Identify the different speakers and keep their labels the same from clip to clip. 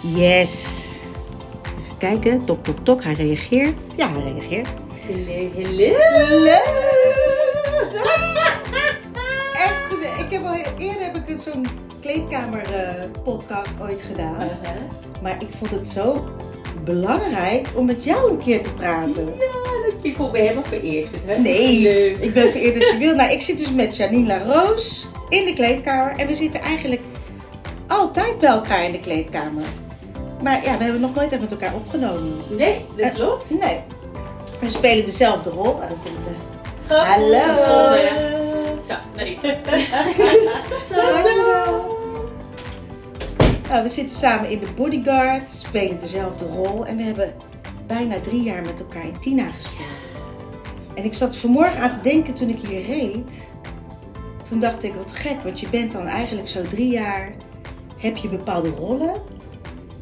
Speaker 1: Yes. Kijken, tok, tok, tok. Hij reageert. Ja, hij reageert.
Speaker 2: Hello, hello.
Speaker 3: Echt gezegd, ik heb al eerder heb ik een zo'n kleedkamer eh, podcast ooit gedaan. Maar ik vond het zo belangrijk om met jou een keer te praten.
Speaker 2: Je voelt me helemaal vereerd. Vind het
Speaker 3: Nee.
Speaker 2: Leuk.
Speaker 3: Ik ben vereerd dat je wil. Nou, ik zit dus met Janine Roos in de kleedkamer. En we zitten eigenlijk altijd bij elkaar in de kleedkamer. Maar ja, we hebben nog nooit echt met elkaar opgenomen.
Speaker 2: Nee, dat
Speaker 3: Eh,
Speaker 2: klopt.
Speaker 3: Nee. We spelen dezelfde rol. En dan komt er-
Speaker 2: Eh,
Speaker 3: Hallo.
Speaker 2: Zo, nee.
Speaker 3: Tot Nou, we zitten samen in de bodyguard, spelen dezelfde rol en we hebben bijna drie jaar met elkaar in Tina gespeeld. En ik zat vanmorgen aan te denken toen ik hier reed. Toen dacht ik, wat gek, want je bent dan eigenlijk zo drie jaar, heb je bepaalde rollen.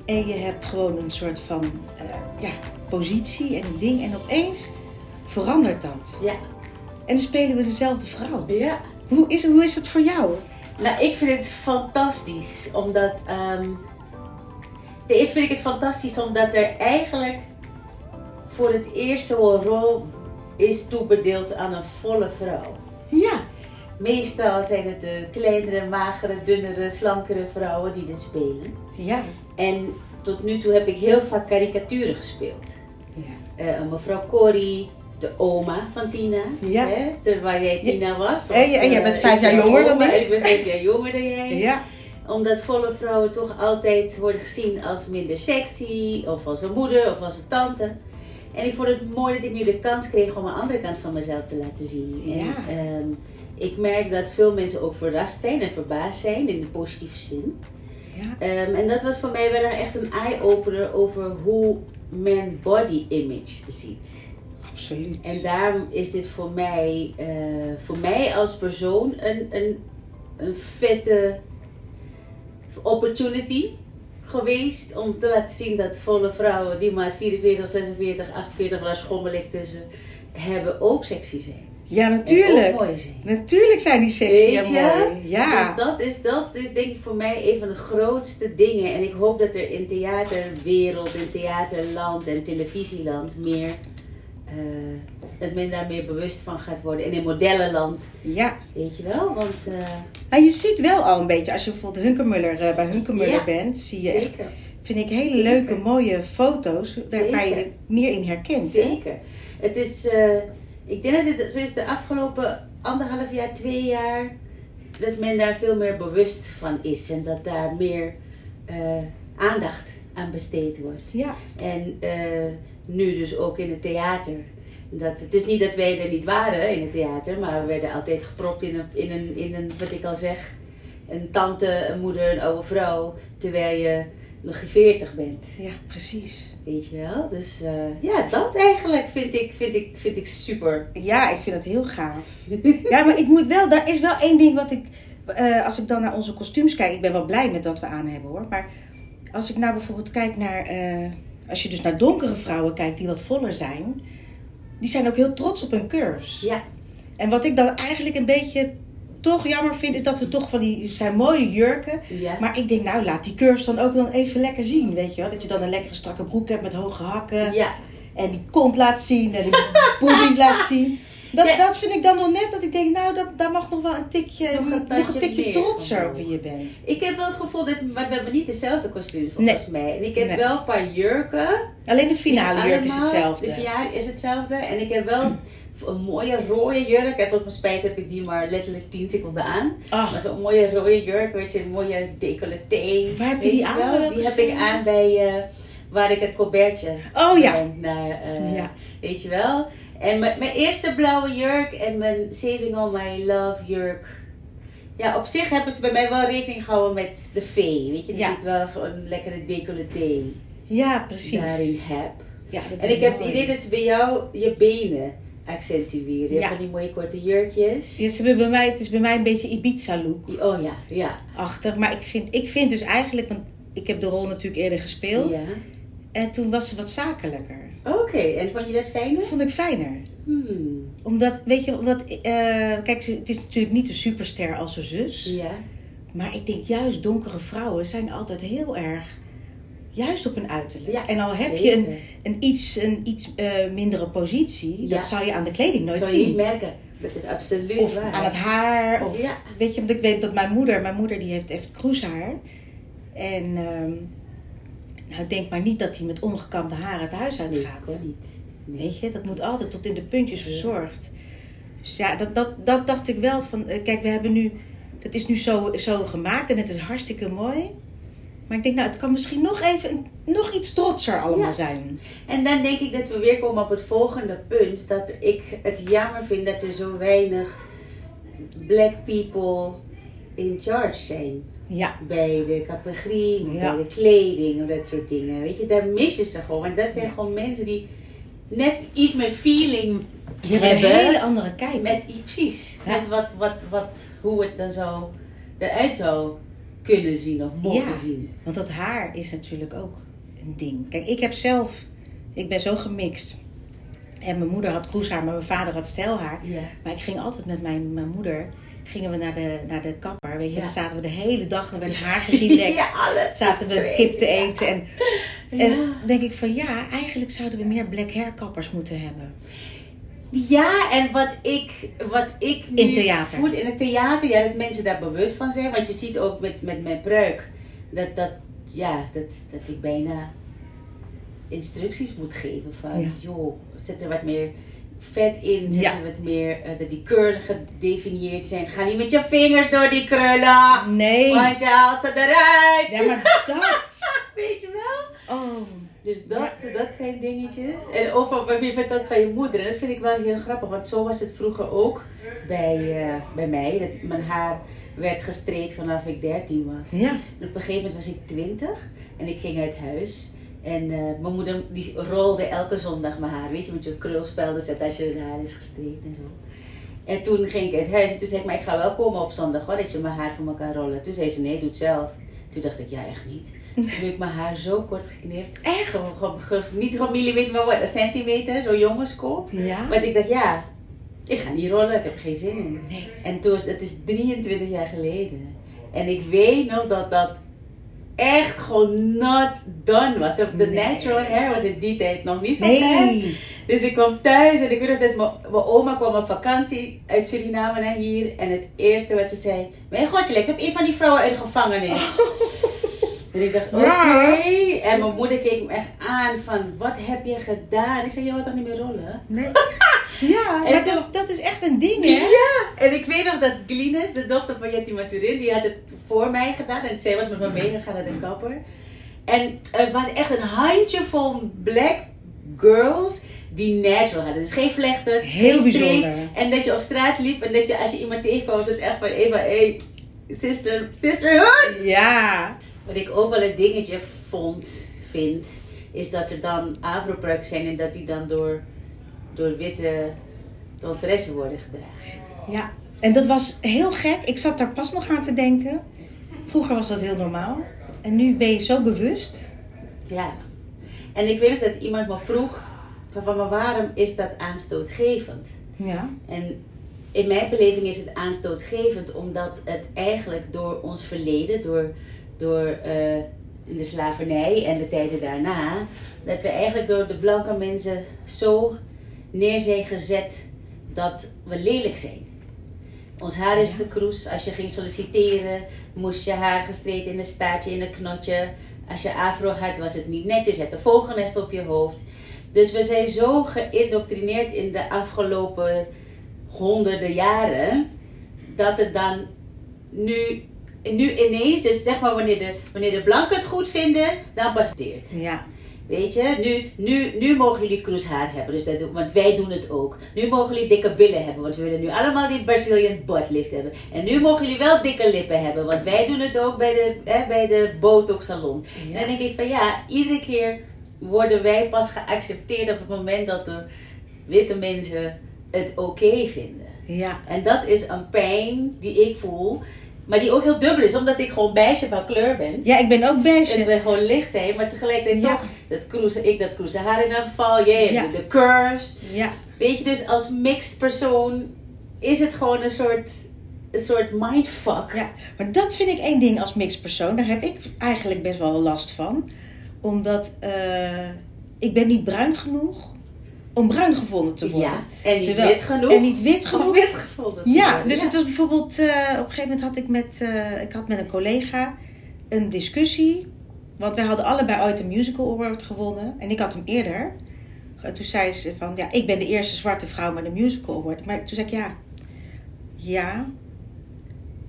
Speaker 3: En je hebt gewoon een soort van eh, ja, positie en een ding. En opeens verandert dat.
Speaker 2: Ja.
Speaker 3: En dan spelen we dezelfde vrouw.
Speaker 2: Ja.
Speaker 3: Hoe is, hoe is het voor jou?
Speaker 2: Nou, ik vind het fantastisch, omdat... ehm ten eerste vind ik het fantastisch omdat er eigenlijk voor het eerst zo'n rol is toebedeeld aan een volle vrouw.
Speaker 3: Ja.
Speaker 2: Meestal zijn het de kleinere, magere, dunnere, slankere vrouwen die dit spelen.
Speaker 3: Ja.
Speaker 2: En tot nu toe heb ik heel vaak karikaturen gespeeld.
Speaker 3: Ja.
Speaker 2: Eh, mevrouw Corrie, de oma van Tina,
Speaker 3: Ja.
Speaker 2: hè, ter- waar jij
Speaker 3: Ja.
Speaker 2: Tina was.
Speaker 3: En je- en jij
Speaker 2: eh,
Speaker 3: bent vijf
Speaker 2: ik
Speaker 3: jaar
Speaker 2: ben
Speaker 3: jonger dan
Speaker 2: oma,
Speaker 3: ik.
Speaker 2: Ik ben vijf jaar jonger dan jij.
Speaker 3: Ja.
Speaker 2: Omdat volle vrouwen toch altijd worden gezien als minder sexy, of als een moeder, of als een tante. En ik vond het mooi dat ik nu de kans kreeg om een andere kant van mezelf te laten zien. En,
Speaker 3: Ja.
Speaker 2: ehm, ik merk dat veel mensen ook verrast zijn en verbaasd zijn in de positieve zin.
Speaker 3: Ja.
Speaker 2: Ehm, en dat was voor mij wel echt een eye-opener over hoe men body image ziet.
Speaker 3: Absoluut.
Speaker 2: En daarom is dit voor mij, eh, voor mij als persoon een, een, een vette opportunity geweest om te laten zien dat volle vrouwen die maat 44, 46, 48, daar schommel ik tussen, hebben ook sexy zijn.
Speaker 3: ja,
Speaker 2: En
Speaker 3: natuurlijk.
Speaker 2: ook mooi zijn.
Speaker 3: Natuurlijk zijn die sexy
Speaker 2: Weet
Speaker 3: en
Speaker 2: je?
Speaker 3: mooi. Ja.
Speaker 2: Dus dat is, dat is denk ik voor mij een van de grootste dingen. En ik hoop dat er in theaterwereld, in theaterland en televisieland meer. eh, dat men daar meer bewust van gaat worden. En in modellenland,
Speaker 3: ja.
Speaker 2: weet je wel. Want eh,
Speaker 3: Nou, je ziet wel al een beetje, als je bijvoorbeeld Hunkermuller, eh, bij Hunkermuller
Speaker 2: Ja.
Speaker 3: bent, zie je echt,
Speaker 2: zeker.
Speaker 3: vind ik, hele
Speaker 2: Zeker.
Speaker 3: leuke, mooie foto's. Daar waar je
Speaker 2: Zeker.
Speaker 3: meer in herkent. hè?
Speaker 2: Zeker. Het is, eh, ik denk dat het zo is de afgelopen anderhalf jaar, twee jaar, dat men daar veel meer bewust van is. En dat daar meer eh, aandacht aan besteed wordt.
Speaker 3: Ja.
Speaker 2: En eh, nu dus ook in het theater. Dat, het is niet dat wij er niet waren in het theater, maar we werden altijd gepropt in een, in een, in een wat ik al zeg, een tante, een moeder, een oude vrouw, terwijl je nog geen veertig bent.
Speaker 3: ja, precies.
Speaker 2: Weet je wel? Dus eh, ja, dat eigenlijk vind ik, vind ik, vind ik super.
Speaker 3: Ja, ik vind dat heel gaaf. ja, maar ik moet wel, daar is wel één ding wat ik, eh, als ik dan naar onze kostuums kijk, ik ben wel blij met wat we aan hebben hoor. Maar als ik nou bijvoorbeeld kijk naar, eh, als je dus naar donkere vrouwen kijkt die wat voller zijn, die zijn ook heel trots op hun curves.
Speaker 2: Ja.
Speaker 3: En wat ik dan eigenlijk een beetje toch jammer vind, is dat we toch van die, zijn mooie jurken.
Speaker 2: Ja.
Speaker 3: Maar ik denk, nou laat die curves dan ook dan even lekker zien, weet je wel. Dat je dan een lekkere strakke broek hebt met hoge hakken.
Speaker 2: ja.
Speaker 3: En die kont laat zien en die boobies laat zien. Dat,
Speaker 2: Ja.
Speaker 3: dat vind ik dan nog net dat ik denk, nou, dat, daar mag nog wel een tikje,
Speaker 2: Nog
Speaker 3: nog
Speaker 2: een
Speaker 3: een,
Speaker 2: tandje
Speaker 3: tikje
Speaker 2: meer.
Speaker 3: trotser op wie je bent.
Speaker 2: Ik heb wel het gevoel dat, maar we hebben niet dezelfde kostuum volgens mij. En ik heb
Speaker 3: Nee.
Speaker 2: wel een paar jurken.
Speaker 3: Alleen de finale
Speaker 2: Niet
Speaker 3: jurk is
Speaker 2: allemaal.
Speaker 3: hetzelfde.
Speaker 2: De verjaardag is hetzelfde. En ik heb wel een mooie rode jurk. En tot mijn spijt heb ik die maar letterlijk 10 seconden aan. Maar
Speaker 3: Ach,
Speaker 2: zo'n mooie rode jurk, weet je, een mooie decolleté.
Speaker 3: Waar heb je
Speaker 2: Weet
Speaker 3: die aan
Speaker 2: wel?
Speaker 3: wel
Speaker 2: Die heb
Speaker 3: gezien?
Speaker 2: ik aan bij eh, waar ik het colbertje
Speaker 3: oh ja.
Speaker 2: breng naar, eh,
Speaker 3: Ja.
Speaker 2: weet je wel. En mijn, mijn eerste blauwe jurk en mijn Saving All My Love jurk. Ja, op zich hebben ze bij mij wel rekening gehouden met de vee. Weet je, dat
Speaker 3: Ja.
Speaker 2: ik wel zo'n lekkere decolleté
Speaker 3: Ja, precies.
Speaker 2: daarin heb.
Speaker 3: Ja, dat
Speaker 2: En
Speaker 3: is
Speaker 2: ik heb het
Speaker 3: mooi.
Speaker 2: idee dat ze bij jou je benen accentueren. Je hebt
Speaker 3: Ja.
Speaker 2: van die mooie korte jurkjes.
Speaker 3: Ja, ze hebben bij mij, het is bij mij een beetje Ibiza-look
Speaker 2: Oh ja, ja.
Speaker 3: achter. Maar ik vind, ik vind dus eigenlijk, want ik heb de rol natuurlijk eerder gespeeld.
Speaker 2: ja.
Speaker 3: En toen was ze wat zakelijker.
Speaker 2: Oké, en vond je dat fijner?
Speaker 3: Dat vond ik fijner.
Speaker 2: Hmm.
Speaker 3: Omdat, weet je, omdat, eh, kijk, ze- het is natuurlijk niet de superster als haar zus.
Speaker 2: Ja.
Speaker 3: Maar ik denk juist donkere vrouwen zijn altijd heel erg Juist op een uiterlijk.
Speaker 2: Ja,
Speaker 3: en al Oh, heb je
Speaker 2: zeker.
Speaker 3: een, een iets, een iets eh, mindere positie,
Speaker 2: Ja.
Speaker 3: dat zou je aan de kleding nooit
Speaker 2: Dat zou je
Speaker 3: zien.
Speaker 2: niet merken. Dat is absoluut
Speaker 3: Of
Speaker 2: waar.
Speaker 3: aan het haar. Of,
Speaker 2: Ja.
Speaker 3: Weet je, want ik weet dat mijn moeder, mijn moeder die heeft echt kroeshaar. En ehm, nou, ik denk maar niet dat hij met ongekamde haren het huis
Speaker 2: Nee,
Speaker 3: uitgaat. hoor.
Speaker 2: dat niet. Nee.
Speaker 3: Weet je, dat moet altijd tot in de puntjes verzorgd. Dus ja, dat, dat, dat dacht ik wel van, eh, kijk, we hebben nu, dat is nu zo, zo gemaakt en het is hartstikke mooi. Maar ik denk, nou, het kan misschien nog even, een- nog iets trotser allemaal
Speaker 2: Ja.
Speaker 3: zijn.
Speaker 2: En dan denk ik dat we weer komen op het volgende punt. Dat ik het jammer vind dat er zo weinig black people in charge zijn.
Speaker 3: Ja,
Speaker 2: Bij de categorie,
Speaker 3: Ja.
Speaker 2: bij de kleding, of dat soort dingen. Weet je, daar mis je ze gewoon. En dat zijn
Speaker 3: Ja.
Speaker 2: gewoon mensen die net iets meer feeling
Speaker 3: die hebben een
Speaker 2: Hebben.
Speaker 3: hele andere kijk.
Speaker 2: met, i- precies,
Speaker 3: Ja.
Speaker 2: met wat, wat, wat, hoe het dan zo eruit zou kunnen zien of mogen
Speaker 3: Ja.
Speaker 2: zien.
Speaker 3: Want dat haar is natuurlijk ook een ding. Kijk, ik heb zelf, ik ben zo gemixt. En mijn moeder had kroeshaar, maar mijn vader had stijlhaar.
Speaker 2: Ja.
Speaker 3: Maar ik ging altijd met mijn, mijn moeder, gingen we naar de, naar de kapper. Weet je,
Speaker 2: Ja.
Speaker 3: dan zaten we de hele dag, dan werd het haar gerelaxed.
Speaker 2: Ja, alles.
Speaker 3: Zaten we
Speaker 2: gestreken.
Speaker 3: kip te eten. En, en
Speaker 2: Ja.
Speaker 3: denk ik van ja, eigenlijk zouden we meer black hair kappers moeten hebben.
Speaker 2: Ja, en wat ik, wat ik nu
Speaker 3: In theater.
Speaker 2: voel in het theater, ja, dat mensen daar bewust van zijn. Want je ziet ook met, met mijn pruik dat, dat, ja, dat, dat ik bijna instructies moet geven van,
Speaker 3: Ja.
Speaker 2: joh, zet er wat meer vet in, zet
Speaker 3: Ja.
Speaker 2: er wat meer, eh, dat die krullen gedefinieerd zijn. Ga niet met je vingers door die krullen,
Speaker 3: Nee.
Speaker 2: want je haalt ze eruit.
Speaker 3: Ja, maar dat.
Speaker 2: Weet je wel?
Speaker 3: Oh.
Speaker 2: Dus dat, dat zijn dingetjes. En over wat je vertelt van je moeder. En dat vind ik wel heel grappig. Want zo was het vroeger ook bij, eh, bij mij. Dat mijn haar werd gestreed vanaf ik 13 was.
Speaker 3: Ja.
Speaker 2: En op een gegeven moment was ik 20 en ik ging uit huis. En eh, mijn moeder die rolde elke zondag mijn haar. Weet je, met je krulspelden zet als je het haar is gestreed en zo. En toen ging ik uit huis en toen zei ik, maar ik ga wel komen op zondag hoor, dat je mijn haar voor elkaar rollen. Toen zei ze, nee, doe het zelf. Toen dacht ik, ja, echt niet. Dus toen heb ik mijn haar zo kort geknipt.
Speaker 3: Echt?
Speaker 2: Gewoon, gewoon, gewoon- niet gewoon millimeter, maar wat, een centimeter, zo'n jongenskoop.
Speaker 3: Ja.
Speaker 2: Want ik dacht, ja, ik ga niet rollen, ik heb er geen zin in.
Speaker 3: Nee.
Speaker 2: En toen, was- het is 23 jaar geleden. En ik weet nog dat dat echt gewoon not done was. De
Speaker 3: Nee.
Speaker 2: natural hair was in die tijd nog niet zo fijn.
Speaker 3: Nee.
Speaker 2: Dus ik kwam thuis en ik weet nog dat mijn- mijn oma kwam op vakantie uit Suriname naar hier. En het eerste wat ze zei, mijn god, je lijkt op een van die vrouwen uit de gevangenis. En ik dacht, oké.
Speaker 3: Ja.
Speaker 2: En mijn moeder keek me echt aan van, wat heb je gedaan? Ik zei, je wilt toch niet meer rollen?
Speaker 3: Nee. Ja,
Speaker 2: En
Speaker 3: maar
Speaker 2: toen-
Speaker 3: dat, dat is echt een ding, hè?
Speaker 2: Ja, en ik weet nog dat Glines, de dochter van Jetty Maturin, die had het voor mij gedaan. En zij was met me meegegaan naar de kapper. En het was echt een handjevol black girls die natural hadden. Dus geen vlechten,
Speaker 3: Heel
Speaker 2: geen streep.
Speaker 3: bijzonder.
Speaker 2: En dat je op straat liep en dat je als je iemand tegenkwam, was het echt van Eva, hey, sister, sisterhood.
Speaker 3: Ja.
Speaker 2: Wat ik ook wel een dingetje vond, vind, is dat er dan afropruiken zijn en dat die dan door, door witte danseressen worden gedragen.
Speaker 3: Ja. En dat was heel gek. Ik zat daar pas nog aan te denken. Vroeger was dat heel normaal. En nu ben je zo bewust.
Speaker 2: Ja. En ik weet nog dat iemand me vroeg van, van maar waarom is dat aanstootgevend?
Speaker 3: Ja.
Speaker 2: En in mijn beleving is het aanstootgevend omdat het eigenlijk door ons verleden, door, door eh, de slavernij en de tijden daarna, dat we eigenlijk door de blanke mensen zo neer zijn gezet dat we lelijk zijn. Ons haar is
Speaker 3: Ja.
Speaker 2: te kroes. Als je ging solliciteren, moest je haar gestreed in een staartje, in een knotje. Als je afro had, was het niet netjes. Je had een vogelnest op je hoofd. Dus we zijn zo geïndoctrineerd in de afgelopen honderden jaren, dat het dan nu, nu ineens, dus zeg maar wanneer de, wanneer de blanken het goed vinden, dan pas deert.
Speaker 3: Ja.
Speaker 2: Weet je, nu, nu, nu mogen jullie kroeshaar hebben, dus dat, want wij doen het ook. Nu mogen jullie dikke billen hebben, want we willen nu allemaal die Brazilian butt lift hebben. En nu mogen jullie wel dikke lippen hebben, want wij doen het ook bij de, hè, bij de Botox salon. En dan denk ik van ja, iedere keer worden wij pas geaccepteerd op het moment dat de witte mensen het oké vinden.
Speaker 3: Ja.
Speaker 2: En dat is een pijn die ik voel, maar die ook heel dubbel is, omdat ik gewoon meisje van kleur ben.
Speaker 3: Ja, ik ben ook
Speaker 2: En
Speaker 3: beige.
Speaker 2: we gewoon licht heen, maar tegelijkertijd
Speaker 3: Ja.
Speaker 2: toch, dat cruise, ik dat cruise haar in elk geval, jij hebt
Speaker 3: Ja.
Speaker 2: de, de curse.
Speaker 3: Ja.
Speaker 2: Weet je, dus als mixed persoon is het gewoon een soort, een soort mindfuck.
Speaker 3: Ja, maar dat vind ik één ding als mixed persoon. Daar heb ik eigenlijk best wel last van. Omdat eh, ik ben niet bruin genoeg om bruin gevonden te worden.
Speaker 2: Ja, en niet
Speaker 3: Terwijl-
Speaker 2: wit genoeg.
Speaker 3: En niet wit
Speaker 2: Om
Speaker 3: genoeg.
Speaker 2: wit gevonden te
Speaker 3: Ja,
Speaker 2: worden.
Speaker 3: dus het was bijvoorbeeld, eh, op een gegeven moment had ik met, eh, ik had met een collega een discussie. Want wij hadden allebei ooit een musical award gewonnen. En ik had hem eerder. Eh, Toen zei ze van, ja, ik ben de eerste zwarte vrouw met een musical award. Maar toen zei ik, ja, ja,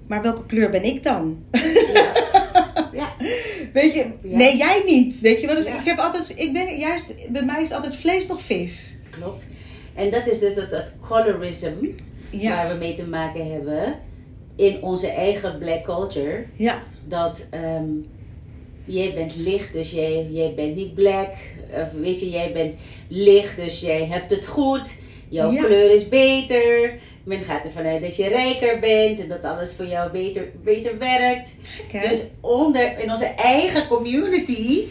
Speaker 3: maar welke kleur ben ik dan?
Speaker 2: Ja.
Speaker 3: Weet je,
Speaker 2: Ja.
Speaker 3: nee, jij niet. Weet je wel, dus
Speaker 2: Ja.
Speaker 3: ik heb altijd, ik ben juist, bij mij is het altijd vlees nog vis.
Speaker 2: Klopt. En dat is dus dat, dat colorism
Speaker 3: Ja,
Speaker 2: waar we mee te maken hebben in onze eigen black culture.
Speaker 3: ja,
Speaker 2: Dat ehm, jij bent licht, dus jij, jij bent niet black. Of weet je, jij bent licht, dus jij hebt het goed. Jouw
Speaker 3: Ja.
Speaker 2: kleur is beter. Men gaat ervan uit dat je rijker bent en dat alles voor jou beter, beter werkt.
Speaker 3: gek hè?
Speaker 2: Dus onder, in onze eigen community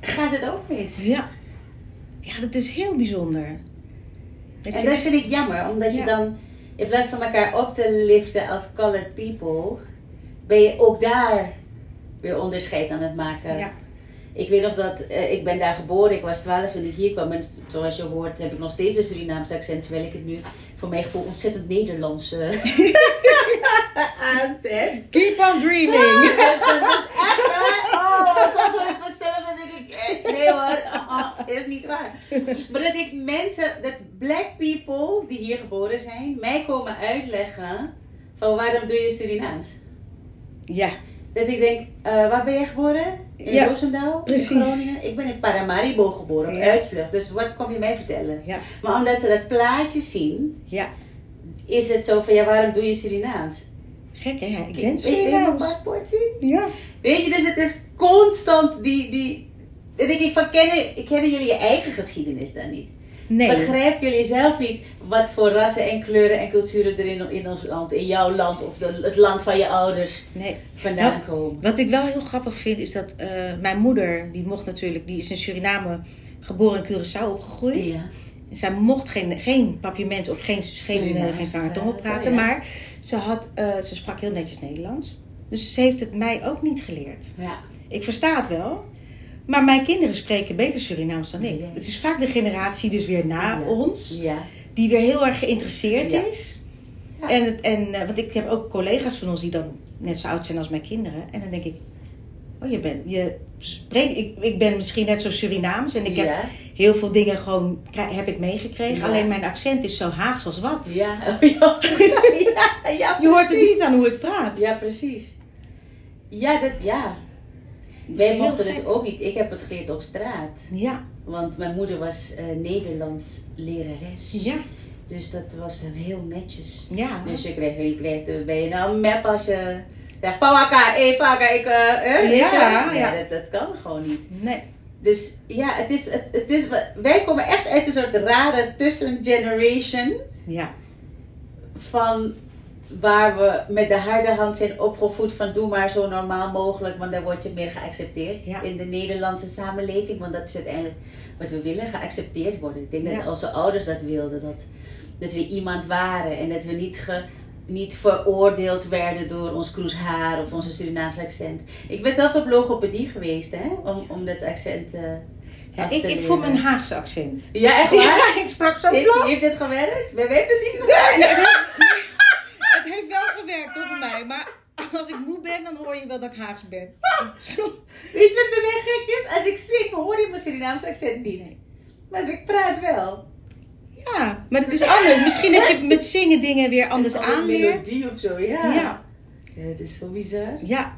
Speaker 2: gaat het ook mis.
Speaker 3: Ja. Ja, dat is heel bijzonder. Het
Speaker 2: En
Speaker 3: is
Speaker 2: dat
Speaker 3: echt-
Speaker 2: vind ik jammer, omdat
Speaker 3: Ja.
Speaker 2: je dan in plaats van elkaar op te liften als colored people, ben je ook daar weer onderscheid aan het maken.
Speaker 3: Ja.
Speaker 2: Ik weet nog dat eh, ik ben daar geboren, ik was 12 toen ik hier kwam en zoals je hoort heb ik nog steeds een Surinaamse accent, terwijl ik het nu voor mijn gevoel ontzettend Nederlands eh, aanzet.
Speaker 3: Keep on dreaming.
Speaker 2: Ah! Dus Oh, soms hoor ik mezelf en denk ik, eh, nee hoor, uh-uh, is niet waar. Maar dat ik mensen, dat black people die hier geboren zijn, mij komen uitleggen van waarom doe je Surinaams?
Speaker 3: ja,
Speaker 2: Dat ik denk, eh, waar ben jij geboren? In
Speaker 3: Ja,
Speaker 2: Roosendaal? In
Speaker 3: precies.
Speaker 2: Groningen? Ik ben in Paramaribo geboren, op
Speaker 3: Ja.
Speaker 2: uitvlucht. Dus wat kom je mij vertellen?
Speaker 3: ja,
Speaker 2: Maar omdat ze dat plaatje zien,
Speaker 3: ja.
Speaker 2: is het zo van, ja, waarom doe je Surinaams?
Speaker 3: Gek hè? Ik ben
Speaker 2: Wil je mijn
Speaker 3: Surinaams.
Speaker 2: paspoort zien?
Speaker 3: Ja.
Speaker 2: Weet je, dus het is constant die. die dan denk ik van, kennen, kennen jullie je eigen geschiedenis dan niet?
Speaker 3: Nee.
Speaker 2: Begrijpen jullie zelf niet wat voor rassen en kleuren en culturen er in, in ons land, in jouw land of de- het land van je ouders
Speaker 3: nee.
Speaker 2: vandaan
Speaker 3: Nou,
Speaker 2: komen?
Speaker 3: Wat ik wel heel grappig vind is dat eh, mijn moeder, die mocht natuurlijk, die is in Suriname geboren in Curaçao opgegroeid.
Speaker 2: Ja.
Speaker 3: En zij mocht geen, geen papiament of geen, geen, eh,
Speaker 2: Surinaams
Speaker 3: geen lange tong op
Speaker 2: praten,
Speaker 3: praten,
Speaker 2: ja.
Speaker 3: maar ze, had, eh, ze sprak heel netjes Nederlands. Dus ze heeft het mij ook niet geleerd.
Speaker 2: Ja.
Speaker 3: Ik versta het wel. Maar mijn kinderen spreken beter Surinaams dan ik.
Speaker 2: Ja.
Speaker 3: Het is vaak de generatie dus weer na
Speaker 2: Ja.
Speaker 3: ons.
Speaker 2: ja.
Speaker 3: Die weer heel erg geïnteresseerd
Speaker 2: Ja.
Speaker 3: is.
Speaker 2: Ja.
Speaker 3: En, het, en, eh, want ik heb ook collega's van ons die dan net zo oud zijn als mijn kinderen. En dan denk ik... Oh, je bent... Je spreekt, ik, ik ben misschien net zo Surinaams. En ik heb
Speaker 2: ja.
Speaker 3: heel veel dingen gewoon... krij- heb ik meegekregen.
Speaker 2: Ja.
Speaker 3: Alleen mijn accent is zo Haags als wat.
Speaker 2: Ja. oh, Ja. Ja. ja,
Speaker 3: Je hoort het
Speaker 2: precies.
Speaker 3: niet aan hoe ik praat.
Speaker 2: Ja, precies. Ja, dat, ja.
Speaker 3: Dat is
Speaker 2: Wij
Speaker 3: heel
Speaker 2: mochten
Speaker 3: gek.
Speaker 2: het ook niet. Ik heb het geleerd op straat.
Speaker 3: Ja.
Speaker 2: Want mijn moeder was eh, Nederlands lerares.
Speaker 3: Ja.
Speaker 2: Dus dat was dan heel netjes.
Speaker 3: Ja.
Speaker 2: Dus je kreeg, je kreeg de, ben je nou een map als je zegt, Pawaka, eh, Pawaka, ik, eh, eh, weet
Speaker 3: Ja,
Speaker 2: je wel? Nee,
Speaker 3: ja.
Speaker 2: dat, dat kan gewoon niet.
Speaker 3: Nee.
Speaker 2: Dus ja, het is, het, het is, wij komen echt uit een soort rare tussengeneration
Speaker 3: Ja.
Speaker 2: van waar we met de harde hand zijn opgevoed van doe maar zo normaal mogelijk, want dan word je meer geaccepteerd
Speaker 3: Ja.
Speaker 2: in de Nederlandse samenleving, want dat is uiteindelijk wat we willen, geaccepteerd worden. Ik denk
Speaker 3: Ja.
Speaker 2: dat onze ouders dat wilden, dat, dat we iemand waren en dat we niet, ge, niet veroordeeld werden door ons kroes haar of onze Surinaamse accent. Ik ben zelfs op logopedie geweest, hè, om, om dat accent eh,
Speaker 3: Ja,
Speaker 2: af
Speaker 3: ik,
Speaker 2: te
Speaker 3: ik
Speaker 2: leren.
Speaker 3: voel mijn Haagse accent.
Speaker 2: Ja, echt waar?
Speaker 3: Ja, ik sprak zo
Speaker 2: Heeft,
Speaker 3: plat.
Speaker 2: heeft het gewerkt? We weten het niet gewerkt.
Speaker 3: Het heeft wel gewerkt op mij, maar als ik moe ben, dan hoor je wel dat ik Haags ben. Zo.
Speaker 2: Weet je wat bij mij gek is? Als ik zing, dan hoor je mijn Surinaamse accent niet.
Speaker 3: Nee.
Speaker 2: Maar als ik praat wel.
Speaker 3: Ja, maar het is anders. Misschien dat je met zingen dingen weer anders
Speaker 2: Een andere
Speaker 3: aanleert.
Speaker 2: melodie of zo, ja.
Speaker 3: Ja,
Speaker 2: Ja, dat is zo bizar.
Speaker 3: ja.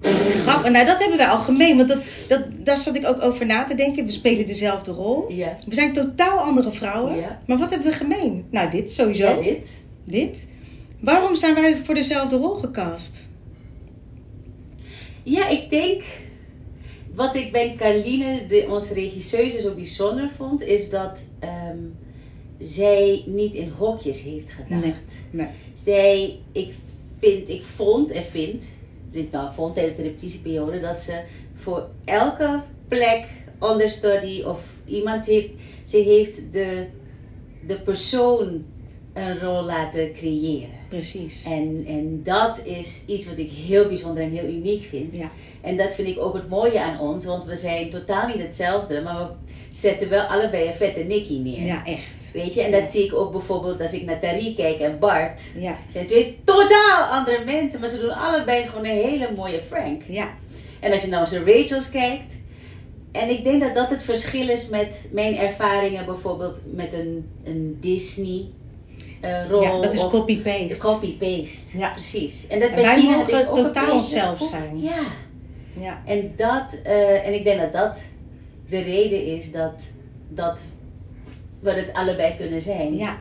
Speaker 3: Grappig. Nou, dat hebben we al gemeen, want dat, dat, daar zat ik ook over na te denken. We spelen dezelfde rol.
Speaker 2: Ja.
Speaker 3: We zijn totaal andere vrouwen.
Speaker 2: Ja.
Speaker 3: Maar wat hebben we gemeen? Nou, dit sowieso.
Speaker 2: Ja, dit.
Speaker 3: Dit. Waarom zijn wij voor dezelfde rol gecast?
Speaker 2: Ja, ik denk... Wat ik bij Carline, de, onze regisseuse, zo bijzonder vond... is dat ehm, zij niet in hokjes heeft gedacht.
Speaker 3: Nee. Nee.
Speaker 2: Zij, ik vind, ik vond en vind, dit nou vond tijdens de repetitieperiode, dat ze voor elke plek understudy of iemand, ze heeft, ze heeft de, de persoon een rol laten creëren.
Speaker 3: Precies.
Speaker 2: En, en dat is iets wat ik heel bijzonder en heel uniek vind.
Speaker 3: Ja.
Speaker 2: En dat vind ik ook het mooie aan ons, want we zijn totaal niet hetzelfde, maar we zetten wel allebei een vette Nicky neer.
Speaker 3: Ja, echt.
Speaker 2: Weet je, en
Speaker 3: Ja.
Speaker 2: dat zie ik ook bijvoorbeeld als ik naar Tari kijk en Bart.
Speaker 3: Ja.
Speaker 2: Het zijn twee totaal andere mensen, maar ze doen allebei gewoon een hele mooie Frank.
Speaker 3: Ja.
Speaker 2: En als je nou naar Rachel's kijkt. En ik denk dat dat het verschil is met mijn ervaringen bijvoorbeeld met een, een Disney-rol.
Speaker 3: ja, dat is copy-paste.
Speaker 2: Copy-paste,
Speaker 3: Ja.
Speaker 2: precies. En dat
Speaker 3: En
Speaker 2: bij
Speaker 3: wij
Speaker 2: Tina
Speaker 3: mogen
Speaker 2: had ik ook een
Speaker 3: totaal
Speaker 2: beetje
Speaker 3: onszelf
Speaker 2: gevoel.
Speaker 3: zijn.
Speaker 2: Ja,
Speaker 3: ja.
Speaker 2: en, dat, eh, en ik denk dat dat de reden is dat, dat we het allebei kunnen zijn.
Speaker 3: ja.